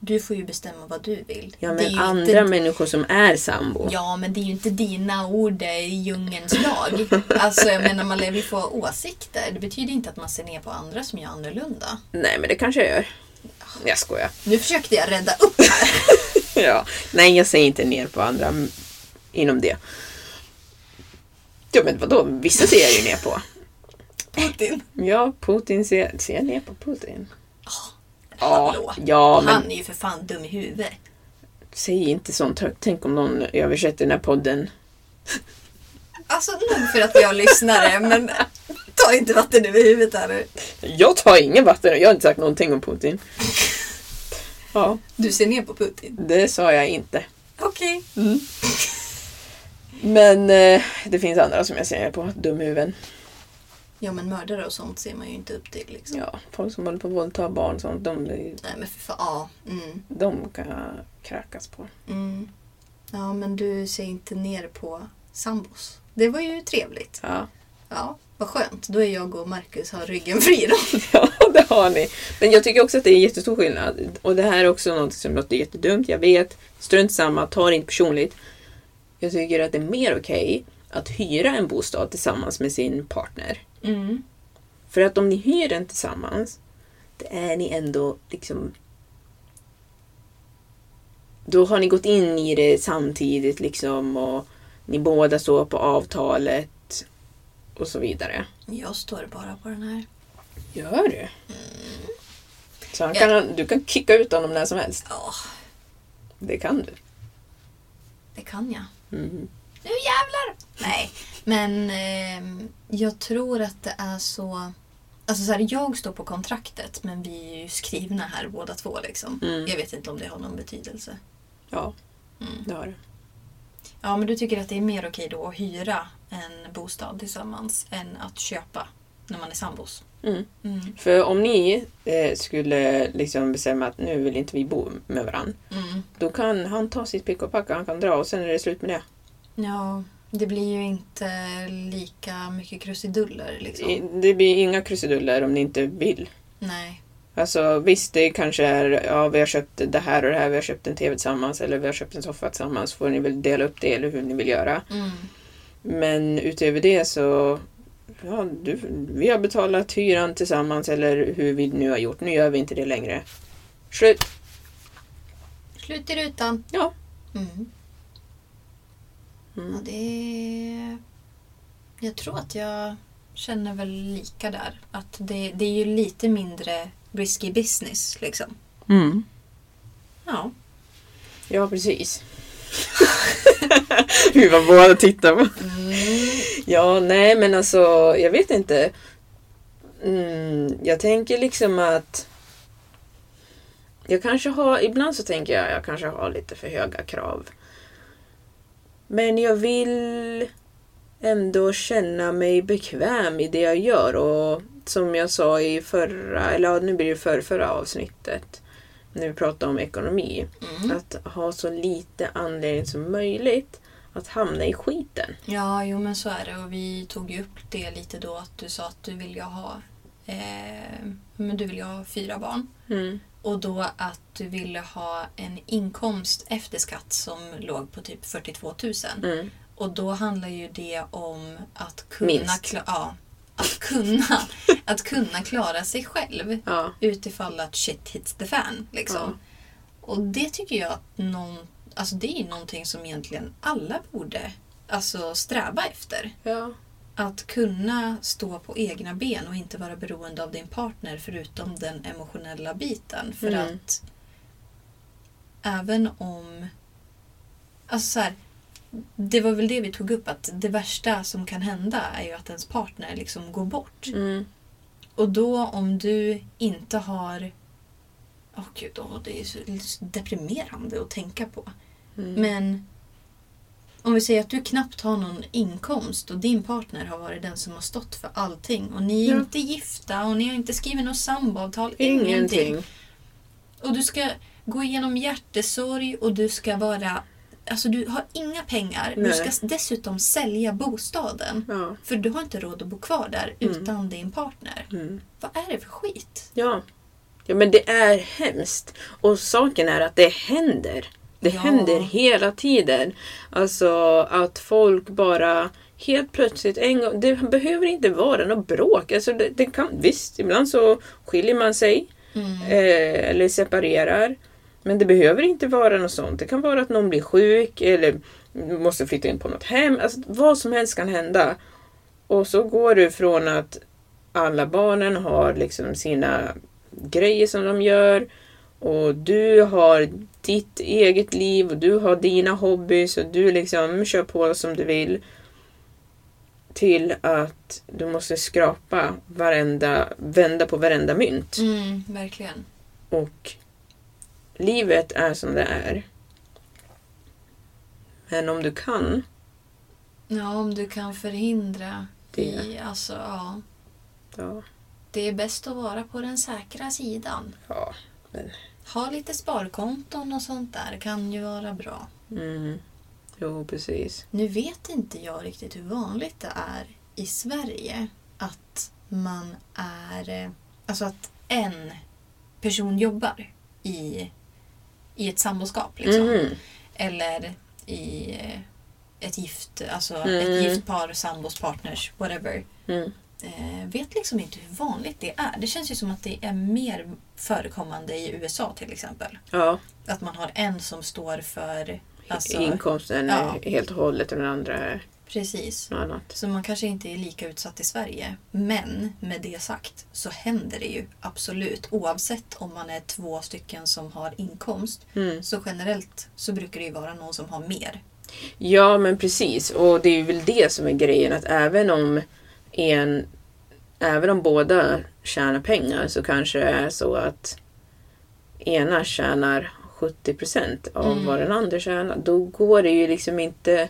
Speaker 2: Du får ju bestämma vad du vill.
Speaker 3: Ja,
Speaker 2: det är
Speaker 3: men
Speaker 2: ju
Speaker 3: andra
Speaker 2: inte,
Speaker 3: människor som är sambo.
Speaker 2: Ja, men det är ju inte dina ord, det är djungelns lag. Alltså, jag menar, man lever ju på åsikter. Det betyder inte att man ser ner på andra som gör annorlunda.
Speaker 3: Nej, men det kanske jag gör. Jag skojar.
Speaker 2: Nu försökte jag rädda upp här.
Speaker 3: Ja. Nej, jag säger inte ner på andra m- inom det. Ja, men vadå? Vissa ser jag ju ner på.
Speaker 2: Putin.
Speaker 3: Ja, Putin ser, ser jag ner på Putin.
Speaker 2: Hallå.
Speaker 3: Ja, ja men
Speaker 2: Han är ju för fan dum i huvudet.
Speaker 3: säg inte sånt högt. Tänk om någon översätter den här podden.
Speaker 2: Alltså, nog för att vi har lyssnare, men ta inte vatten över huvudet här nu.
Speaker 3: Jag tar ingen vatten jag har inte sagt någonting om Putin. Ja,
Speaker 2: Du ser ner på Putin.
Speaker 3: det sa jag inte.
Speaker 2: Okej.
Speaker 3: Men eh, det finns andra som jag ser ner på. Dumhuvuden.
Speaker 2: Ja men mördare och sånt ser man ju inte upp till liksom.
Speaker 3: Ja, folk som håller på att våldta barn och sånt. De,
Speaker 2: Nej men för fan, ja. Mm,
Speaker 3: de kan kräkas på.
Speaker 2: mm. Ja men du ser inte ner på sambos. Det var ju trevligt.
Speaker 3: Ja.
Speaker 2: Ja, vad skönt. Då är jag och Marcus har ryggen fri då.
Speaker 3: Ja, det har ni. Men jag tycker också att det är jättestor skillnad. Och det här är också något som låter jättedumt. Jag vet, strunt samma, ta det inte personligt. Jag tycker att det är mer okej att hyra en bostad tillsammans med sin partner.
Speaker 2: Mm.
Speaker 3: För att om ni hyr den tillsammans, det är ni ändå liksom... Då har ni gått in i det samtidigt liksom och ni båda står på avtalet och så vidare.
Speaker 2: Jag står bara på den här.
Speaker 3: Gör du? Så han kan, du kan kicka ut honom när som helst.
Speaker 2: Ja,
Speaker 3: Det kan du.
Speaker 2: Mm. det kan jag. Nu jävlar! Nej, Men eh, jag tror att det är så... Alltså så här, jag står på kontraktet men vi är ju skrivna här båda två. Liksom. Jag vet inte om det har någon betydelse.
Speaker 3: Ja, det har det.
Speaker 2: Ja, men du tycker att det är mer okej då att hyra en bostad tillsammans än att köpa när man är sambos?
Speaker 3: För om ni eh, skulle liksom bestämma att nu vill inte vi bo med varandra. Då kan han ta sitt pick och packa, han kan dra och sen är det slut med det.
Speaker 2: Ja, det blir ju inte lika mycket krusiduller liksom.
Speaker 3: I- Det blir inga krusiduller om ni inte vill.
Speaker 2: Nej.
Speaker 3: Alltså visst, det kanske är ja, vi har köpt det här och det här, vi har köpt en TV tillsammans eller vi har köpt en soffa tillsammans. Får ni väl dela upp det eller hur ni vill göra. Men utöver det så ja, du, vi har betalat hyran tillsammans eller hur vi nu har gjort. Nu gör vi inte det längre. Slut!
Speaker 2: Slut i rutan.
Speaker 3: Ja.
Speaker 2: Mm. Ja, det... Jag tror att jag känner väl lika där. Att det, det är ju lite mindre risky business liksom. Ja.
Speaker 3: Ja, precis. Gud vad båda tittar på. Mm. Ja, nej men alltså jag vet inte. Mm, jag tänker liksom att jag kanske har, ibland så tänker jag jag kanske har lite för höga krav. Men jag vill ändå känna mig bekväm i det jag gör och som jag sa i förra, eller ja, nu blir det förra, förra avsnittet när vi pratade om ekonomi. Att ha så lite anledning som möjligt att hamna i skiten.
Speaker 2: Ja, jo men så är det. Och vi tog ju upp det lite då att du sa att du vill ju ha, eh, men du vill ju ha fyra barn. Och då att du ville ha en inkomst efter skatt som låg på typ 42 000. Och då handlar ju det om att kunna,
Speaker 3: Minst.
Speaker 2: kla- ja, att kunna, att kunna klara sig själv
Speaker 3: Ja.
Speaker 2: utifall att shit hits the fan. Liksom. Och det tycker jag att någon, alltså det är ju någonting som egentligen alla borde alltså, sträva efter.
Speaker 3: Ja.
Speaker 2: Att kunna stå på egna ben och inte vara beroende av din partner förutom den emotionella biten. För
Speaker 3: Mm.
Speaker 2: att även om... Alltså så här, det var väl det vi tog upp, att det värsta som kan hända är ju att ens partner liksom går bort.
Speaker 3: Mm.
Speaker 2: Och då om du inte har... Åh gud, åh, det är så så deprimerande att tänka på.
Speaker 3: Mm.
Speaker 2: Men om vi säger att du knappt har någon inkomst och din partner har varit den som har stått för allting och ni är
Speaker 3: Ja.
Speaker 2: inte gifta och ni har inte skrivit något samboavtal,
Speaker 3: Ingenting.
Speaker 2: och du ska gå igenom hjärtesorg och du ska vara... Alltså du har inga pengar. Du
Speaker 3: Nej.
Speaker 2: ska s- dessutom sälja bostaden.
Speaker 3: Ja. Mm.
Speaker 2: För du har inte råd att bo kvar där utan din partner. Vad är det för skit?
Speaker 3: Ja. Ja men det är hemskt. Och saken är att det händer. Det
Speaker 2: Ja.
Speaker 3: händer hela tiden. Alltså att folk bara helt plötsligt en gång. Det behöver inte vara något bråk. Alltså det, det kan, visst, ibland så skiljer man sig. Eh, eller separerar. Men det behöver inte vara något sånt. Det kan vara att någon blir sjuk eller måste flytta in på något hem. Alltså, vad som helst kan hända. Och så går du från att alla barnen har liksom sina grejer som de gör och du har ditt eget liv och du har dina hobbys och du liksom kör på som du vill. Till att du måste skrapa varenda, vända på varenda mynt.
Speaker 2: Mm, verkligen.
Speaker 3: Och livet är som det är. Men om du kan.
Speaker 2: Ja, om du kan förhindra
Speaker 3: Det.
Speaker 2: I, alltså, ja.
Speaker 3: Ja.
Speaker 2: Det är bäst att vara på den säkra sidan.
Speaker 3: ja men,
Speaker 2: Ha lite sparkonton och sånt där kan ju vara bra.
Speaker 3: mm, jo, precis.
Speaker 2: Nu vet inte jag riktigt hur vanligt det är i Sverige att man är... eh, Alltså att en person jobbar i, i ett samboskap. Liksom.
Speaker 3: Mhm.
Speaker 2: Eller i eh, ett gift, alltså ett gift par, sambos, partners, whatever.
Speaker 3: Mhm. Mm.
Speaker 2: Eh, vet liksom inte hur vanligt det är. Det känns ju som att det är mer förekommande i USA till exempel.
Speaker 3: Ja,
Speaker 2: Att man har en som står för... Alltså,
Speaker 3: inkomsten
Speaker 2: ja.
Speaker 3: är helt och hållet och den andra är
Speaker 2: precis.
Speaker 3: något annat.
Speaker 2: Så man kanske inte är lika utsatt i Sverige. Men med det sagt så händer det ju absolut. Oavsett om man är två stycken som har inkomst. Så generellt så brukar det ju vara någon som har mer.
Speaker 3: Ja, men precis. Och det är ju väl det som är grejen, att även om en... Även om båda tjänar pengar så kanske det är så att ena tjänar 70% av
Speaker 2: Mm.
Speaker 3: vad den andra tjänar. Då går det ju liksom inte...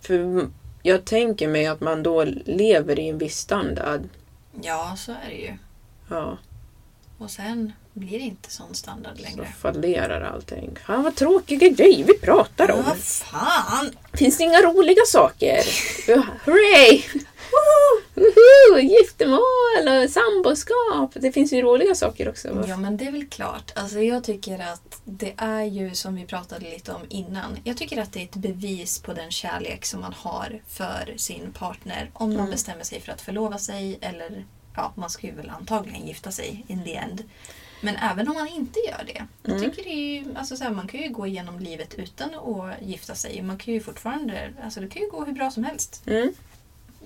Speaker 3: För jag tänker mig att man då lever i en viss standard.
Speaker 2: Ja, så är det ju.
Speaker 3: Ja,
Speaker 2: Och sen blir det inte sån standard
Speaker 3: så
Speaker 2: längre.
Speaker 3: fallerar allting. Fan vad tråkiga grejer vi pratar om.
Speaker 2: Vad fan!
Speaker 3: Finns det inga roliga saker? Hurray! Woho! Giftermål och samboskap. Det finns ju roliga saker också. va?
Speaker 2: Ja men det är väl klart. Alltså jag tycker att det är ju som vi pratade lite om innan. Jag tycker att det är ett bevis på den kärlek som man har för sin partner. Om
Speaker 3: Mm.
Speaker 2: man bestämmer sig för att förlova sig eller ja, man ska ju väl antagligen gifta sig in the end. Men även om man inte gör det. Jag
Speaker 3: Mm.
Speaker 2: tycker det är ju, alltså så här, man kan ju gå igenom livet utan att gifta sig. Man kan ju fortfarande, alltså det kan ju gå hur bra som helst.
Speaker 3: Mm.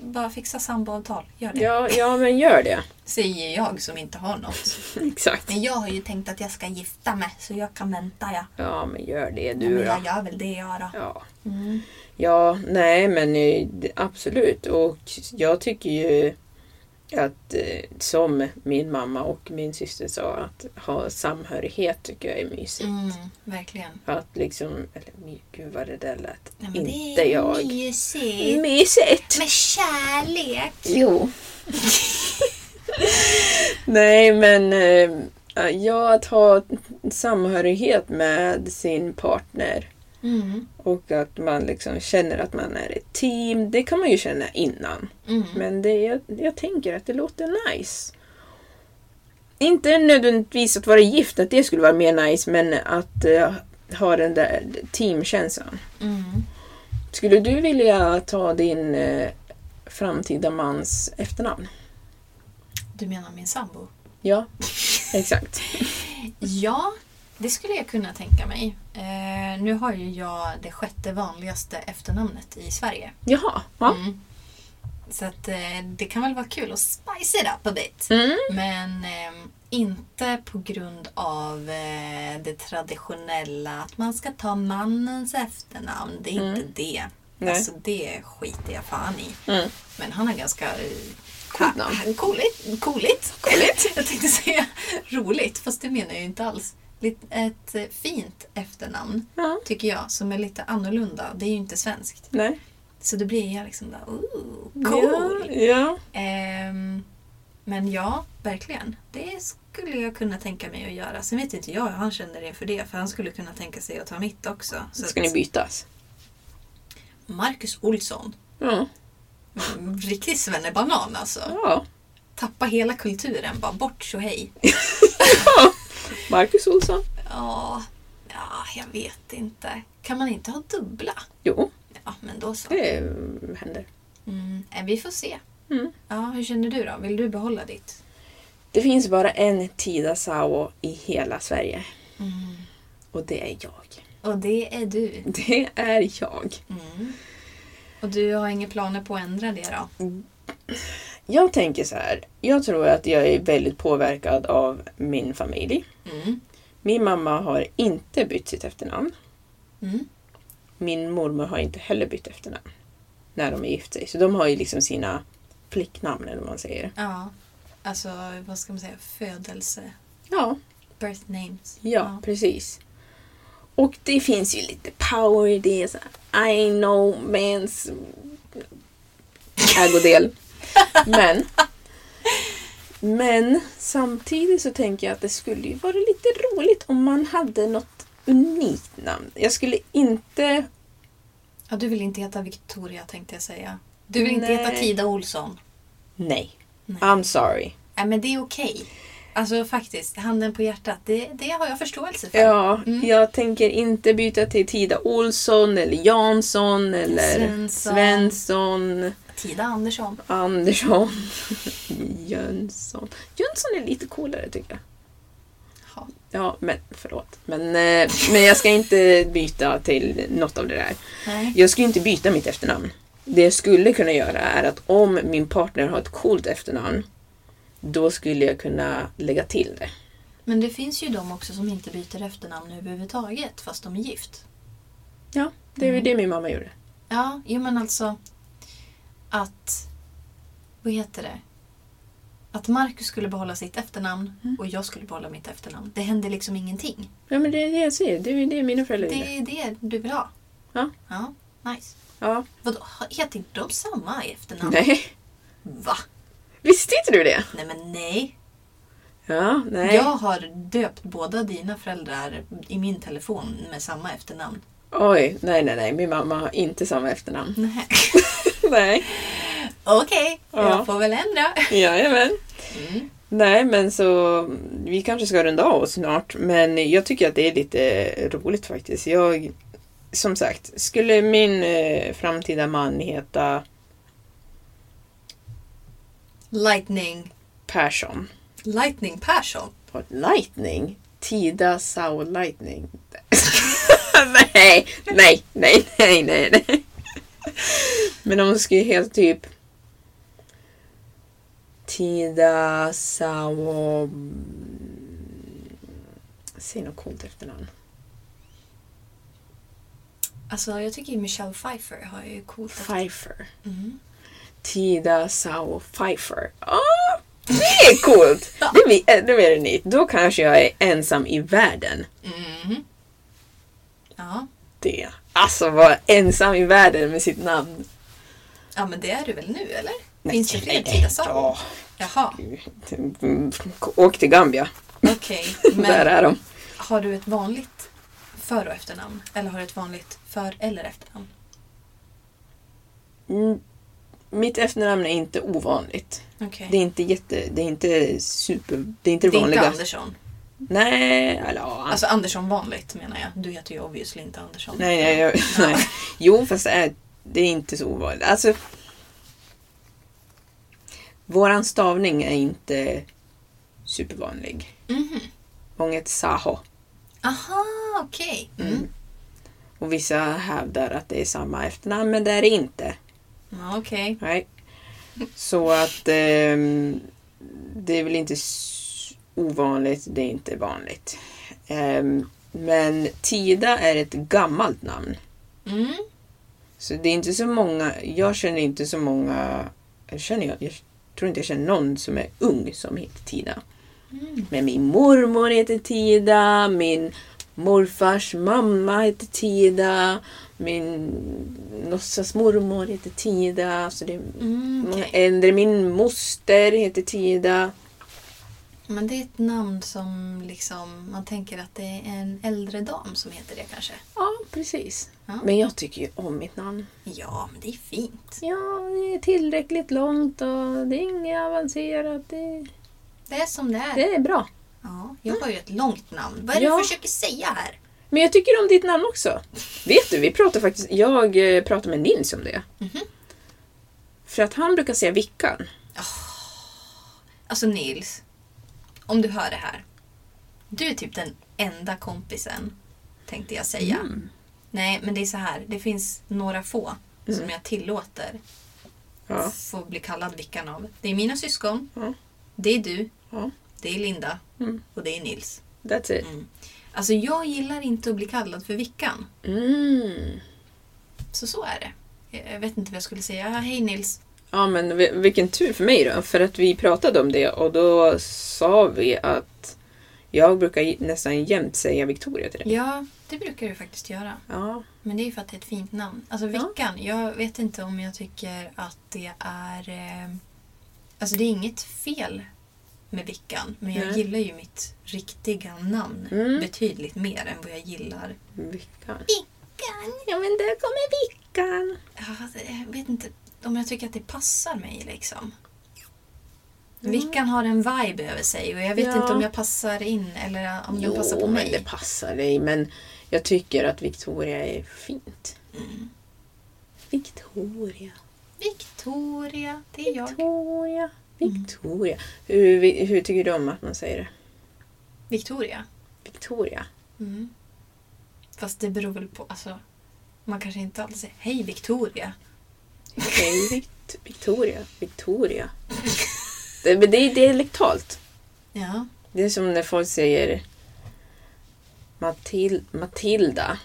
Speaker 2: Bara fixa samboavtal, gör det.
Speaker 3: Ja, ja, men gör det.
Speaker 2: Säger jag som inte har något.
Speaker 3: Exakt.
Speaker 2: Men jag har ju tänkt att jag ska gifta mig så jag kan vänta ja.
Speaker 3: Ja, men gör det
Speaker 2: Men
Speaker 3: du då.
Speaker 2: jag gör Mm. väl det jag då.
Speaker 3: Ja. ja, nej men eh, det- absolut. Och jag tycker ju att eh, som min mamma och min syster sa, att ha samhörighet tycker jag är mysigt.
Speaker 2: Mm, verkligen.
Speaker 3: Att liksom, eller my- gud vad det där lät.
Speaker 2: Nej, men
Speaker 3: inte
Speaker 2: det är
Speaker 3: jag.
Speaker 2: mysigt.
Speaker 3: Mysigt!
Speaker 2: Mm. Med kärlek.
Speaker 3: Jo. Nej, men eh, ja, att ha samhörighet med sin partner
Speaker 2: Mm,
Speaker 3: och att man liksom känner att man är ett team. Det kan man ju känna innan.
Speaker 2: mm.
Speaker 3: Men det, jag, jag tänker att det låter nice. Inte nödvändigtvis att vara gift, att det skulle vara mer nice, men att eh, ha den där teamkänslan.
Speaker 2: Mm.
Speaker 3: Skulle du vilja ta din eh, framtida mans efternamn?
Speaker 2: Du menar min sambo?
Speaker 3: Ja, exakt.
Speaker 2: Ja, det skulle jag kunna tänka mig. Eh, nu har ju jag det sjätte vanligaste efternamnet i Sverige.
Speaker 3: Jaha. Ja.
Speaker 2: Mm. Så att, eh, det kan väl vara kul att spice it up a bit.
Speaker 3: Mm.
Speaker 2: Men eh, inte på grund av eh, det traditionella att man ska ta mannens efternamn. Det är inte det.
Speaker 3: Mm. Nej.
Speaker 2: Alltså det skiter jag fan i.
Speaker 3: Mm.
Speaker 2: Men han har ganska... eh,
Speaker 3: Coolt namn.
Speaker 2: ha- ha- Cooligt. Cooligt. Cooligt. jag tänkte säga roligt, fast det menar jag ju inte alls. Lite- Ett eh, fint efternamn,
Speaker 3: Ja.
Speaker 2: tycker jag, som är lite annorlunda. Det är ju inte svenskt.
Speaker 3: Nej.
Speaker 2: Så då blir jag liksom där, ooh, cool.
Speaker 3: Ja, ja.
Speaker 2: Ehm, men ja, verkligen. Det skulle jag kunna tänka mig att göra. Sen vet inte jag hur han känner inför det, för han skulle kunna tänka sig att ta mitt också. Så
Speaker 3: Ska
Speaker 2: att-
Speaker 3: ni bytas?
Speaker 2: Marcus Olsson.
Speaker 3: Ja.
Speaker 2: Mm, Riktig svennebanan alltså.
Speaker 3: ja.
Speaker 2: Tappa hela kulturen, bara bort så hej.
Speaker 3: Marcus Olsson?
Speaker 2: Ja, ja, jag vet inte. Kan man inte ha dubbla?
Speaker 3: Jo,
Speaker 2: Ja, men då så.
Speaker 3: det eh, händer.
Speaker 2: Mm, eh, vi får se.
Speaker 3: Mm.
Speaker 2: Ja, hur känner du då? Vill du behålla ditt?
Speaker 3: Det finns bara en Tida Sao i hela Sverige.
Speaker 2: Mm.
Speaker 3: Och det är jag.
Speaker 2: Och det är du.
Speaker 3: Det är jag.
Speaker 2: Och du har inga planer på att ändra det då?
Speaker 3: Jag tänker så här. Jag tror att jag är väldigt påverkad av min familj.
Speaker 2: Mm.
Speaker 3: Min mamma har inte bytt sitt efternamn.
Speaker 2: Mm.
Speaker 3: Min mormor har inte heller bytt efternamn. När de är gift sig. Så de har ju liksom sina flicknamn eller vad man säger.
Speaker 2: Ja, alltså vad ska man säga? Födelse.
Speaker 3: Ja,
Speaker 2: Birth names.
Speaker 3: ja, precis. Och det finns ju lite power i det. Så här, I know mans ägodel. Men, men samtidigt så tänker jag att det skulle ju vara lite roligt om man hade något unikt namn. Jag skulle inte...
Speaker 2: Ja, du vill inte heta Victoria tänkte jag säga. Du vill inte heta
Speaker 3: Nej.
Speaker 2: Tida Olsson.
Speaker 3: Nej. I'm sorry.
Speaker 2: Nej, men det är okej. Alltså faktiskt, handen på hjärtat, det, det har jag förståelse för.
Speaker 3: Ja, Mm. jag tänker inte byta till Tida Olsson eller Jansson eller
Speaker 2: Svensson.
Speaker 3: Svensson,
Speaker 2: Tida Andersson.
Speaker 3: Andersson, Jönsson. Jönsson är lite coolare tycker jag.
Speaker 2: Ja.
Speaker 3: Ja, men förlåt. Men, eh, men jag ska inte byta till något av det där.
Speaker 2: Nej.
Speaker 3: Jag ska ju inte byta mitt efternamn. Det jag skulle kunna göra är att om min partner har ett coolt efternamn, då skulle jag kunna lägga till det.
Speaker 2: Men det finns ju de också som inte byter efternamn överhuvudtaget fast de är gift.
Speaker 3: Ja, Det är ju det min mamma gjorde.
Speaker 2: Ja, jo men alltså att... Vad heter det? Att Marcus skulle behålla sitt efternamn och jag skulle behålla mitt efternamn. Det hände liksom ingenting.
Speaker 3: Ja, men det är det jag säger. Det är ju det mina föräldrar gjorde.
Speaker 2: Det är det du vill ha.
Speaker 3: Ja.
Speaker 2: Ja, nice.
Speaker 3: ja.
Speaker 2: Vadå, heter inte de samma i efternamn?
Speaker 3: Nej.
Speaker 2: Va?
Speaker 3: Visste inte du det?
Speaker 2: Nej men nej.
Speaker 3: Ja, nej.
Speaker 2: Jag har döpt båda dina föräldrar i min telefon med samma efternamn.
Speaker 3: Oj, nej, nej, nej. Min mamma har inte samma efternamn.
Speaker 2: Nej.
Speaker 3: nej.
Speaker 2: Okej,
Speaker 3: Ja.
Speaker 2: jag får väl ändra.
Speaker 3: Jajamän. Nej, men så vi kanske ska runda av snart. Men jag tycker att det är lite roligt faktiskt. Jag, som sagt, skulle min eh, framtida man heta
Speaker 2: Lightning.
Speaker 3: Persson.
Speaker 2: Lightning Persson.
Speaker 3: På Lightning? Tida Sau Lightning. nej, nej, nej, nej, nej, nej. Men om hon skulle heta typ Tida Sau... Säg något coolt efternamn.
Speaker 2: Alltså jag tycker ju Michelle Pfeiffer har ju coolt efternamn.
Speaker 3: Pfeiffer. Tida Sau Pfeiffer. Ah, det är coolt! Det blir, äh, då blir det nytt. Då kanske jag är ensam i världen.
Speaker 2: Mhm. Ja.
Speaker 3: Det. Alltså vara ensam i världen med sitt namn.
Speaker 2: ja, men det är du väl nu eller?
Speaker 3: Nej,
Speaker 2: Finns det fler
Speaker 3: nej,
Speaker 2: Tida Saul?
Speaker 3: ja.
Speaker 2: Jaha,
Speaker 3: Mm, Åk till Gambia.
Speaker 2: okej.
Speaker 3: Där
Speaker 2: Men
Speaker 3: är de.
Speaker 2: har du ett vanligt för och efternamn? Eller har du ett vanligt för eller efternamn?
Speaker 3: Mm, Mitt efternamn är inte ovanligt.
Speaker 2: Okej.
Speaker 3: Det är inte jätte... Det är inte super... Det är inte
Speaker 2: Det
Speaker 3: det
Speaker 2: är inte
Speaker 3: vanliga.
Speaker 2: Andersson.
Speaker 3: Nej, eller ja.
Speaker 2: Alltså Andersson vanligt menar jag. Du heter ju obviously inte Andersson.
Speaker 3: Nej, nej, jag, nej. Jo, fast det är, det är inte så ovanligt. Alltså, våran stavning är inte supervanlig.
Speaker 2: Mhm.
Speaker 3: Många heter Saho
Speaker 2: Aha, okej. Mm.
Speaker 3: och vissa hävdar att det är samma efternamn, men det är det inte.
Speaker 2: Ja, okej.
Speaker 3: Nej. Så att ehm, det är väl inte s- ovanligt, det är inte vanligt. Ehm, men Tida är ett gammalt namn.
Speaker 2: Mm.
Speaker 3: Så det är inte så många, jag känner inte så många, jag, känner, jag, jag tror inte jag känner någon som är ung som heter Tida. Men min mormor heter Tida, min morfars mamma heter Tida, min låtsas mormor heter Tida. Så det är många äldre, min moster heter Tida.
Speaker 2: Men det är ett namn som liksom, man tänker att det är en äldre dam som heter det kanske.
Speaker 3: Ja, precis. Men jag tycker ju om mitt namn.
Speaker 2: Ja, men det är fint.
Speaker 3: Ja, det är tillräckligt långt och det är inget avancerat. Det,
Speaker 2: Det är som det är.
Speaker 3: det är bra.
Speaker 2: Ja, jag har ju ett långt namn. Vad är det
Speaker 3: Ja.
Speaker 2: du försöker säga här?
Speaker 3: Men jag tycker om ditt namn också. Vet du, vi pratar faktiskt, jag eh, pratar med Nils om det. För att han brukar säga Vickan.
Speaker 2: Alltså Nils, om du hör det här. Du är typ den enda kompisen, tänkte jag säga.
Speaker 3: Mm.
Speaker 2: Nej, men det är så här. Det finns några få som jag tillåter
Speaker 3: Mm. Ja.
Speaker 2: få bli kallad Vickan av. Det är mina syskon, det är du,
Speaker 3: Ja. Mm.
Speaker 2: det är Linda och det är Nils.
Speaker 3: That's it.
Speaker 2: Alltså jag gillar inte att bli kallad för Vickan.
Speaker 3: Mm.
Speaker 2: Så så är det. Jag- Jag vet inte vad jag skulle säga. Ah, Hej Nils.
Speaker 3: Ja men vi- vilken tur för mig då. För att vi pratade om det och då sa vi att jag brukar j- nästan jämt säga Victoria till dig.
Speaker 2: Ja, det brukar du faktiskt göra.
Speaker 3: Ja.
Speaker 2: Men det är ju för att det är ett fint namn. Alltså Vickan, jag vet inte om jag tycker att det är... Eh, alltså det är inget fel med Vickan. Men jag
Speaker 3: Nej. Mm.
Speaker 2: gillar ju mitt riktiga namn betydligt mer än vad jag gillar.
Speaker 3: Vickan.
Speaker 2: Vickan!
Speaker 3: Ja men där kommer Vickan.
Speaker 2: alltså, Jag vet inte om jag tycker att det passar mig liksom. Vickan har en vibe över sig och jag vet
Speaker 3: Mm. Ja.
Speaker 2: inte om jag passar in eller om den passar på
Speaker 3: men
Speaker 2: mig.
Speaker 3: det passar dig. Men jag tycker att Victoria är fint. Victoria.
Speaker 2: Victoria, det är jag. Mm.
Speaker 3: Victoria. Victoria. Hur, vi- hur tycker du om att man säger det?
Speaker 2: Victoria.
Speaker 3: Victoria.
Speaker 2: Fast det beror väl på, alltså. Man kanske inte alltid säger Hej Victoria.
Speaker 3: Okej, Vict- Victoria. Victoria. det, men det är dialektalt.
Speaker 2: Ja.
Speaker 3: Det är som när folk säger Matil- Matilda.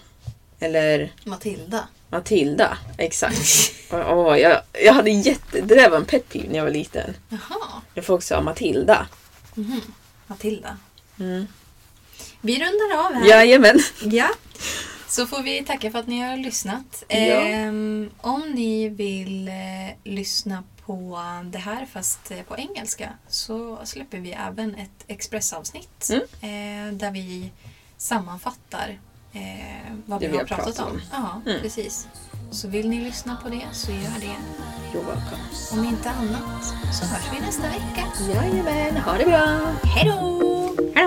Speaker 3: Eller
Speaker 2: Matilda.
Speaker 3: Matilda, exakt. Åh, åh, jag, jag hade jätte... Det där var en pet peeve när jag var liten.
Speaker 2: Jaha,
Speaker 3: När folk sa Matilda.
Speaker 2: Matilda. Mm. Vi rundar av här.
Speaker 3: Jajamän.
Speaker 2: Ja. Så får vi tacka för att ni har lyssnat.
Speaker 3: Ja.
Speaker 2: Ehm, om ni vill eh, lyssna på det här fast eh, på engelska så släpper vi även ett expressavsnitt eh, där vi sammanfattar eh, vad
Speaker 3: Det
Speaker 2: vi har pratat, om. Ja,
Speaker 3: Mm.
Speaker 2: precis. Så vill ni lyssna på det så gör det.
Speaker 3: You're welcome.
Speaker 2: Om inte annat så hörs vi nästa vecka.
Speaker 3: Jajamän, ha det bra.
Speaker 2: Hej då!
Speaker 3: Hej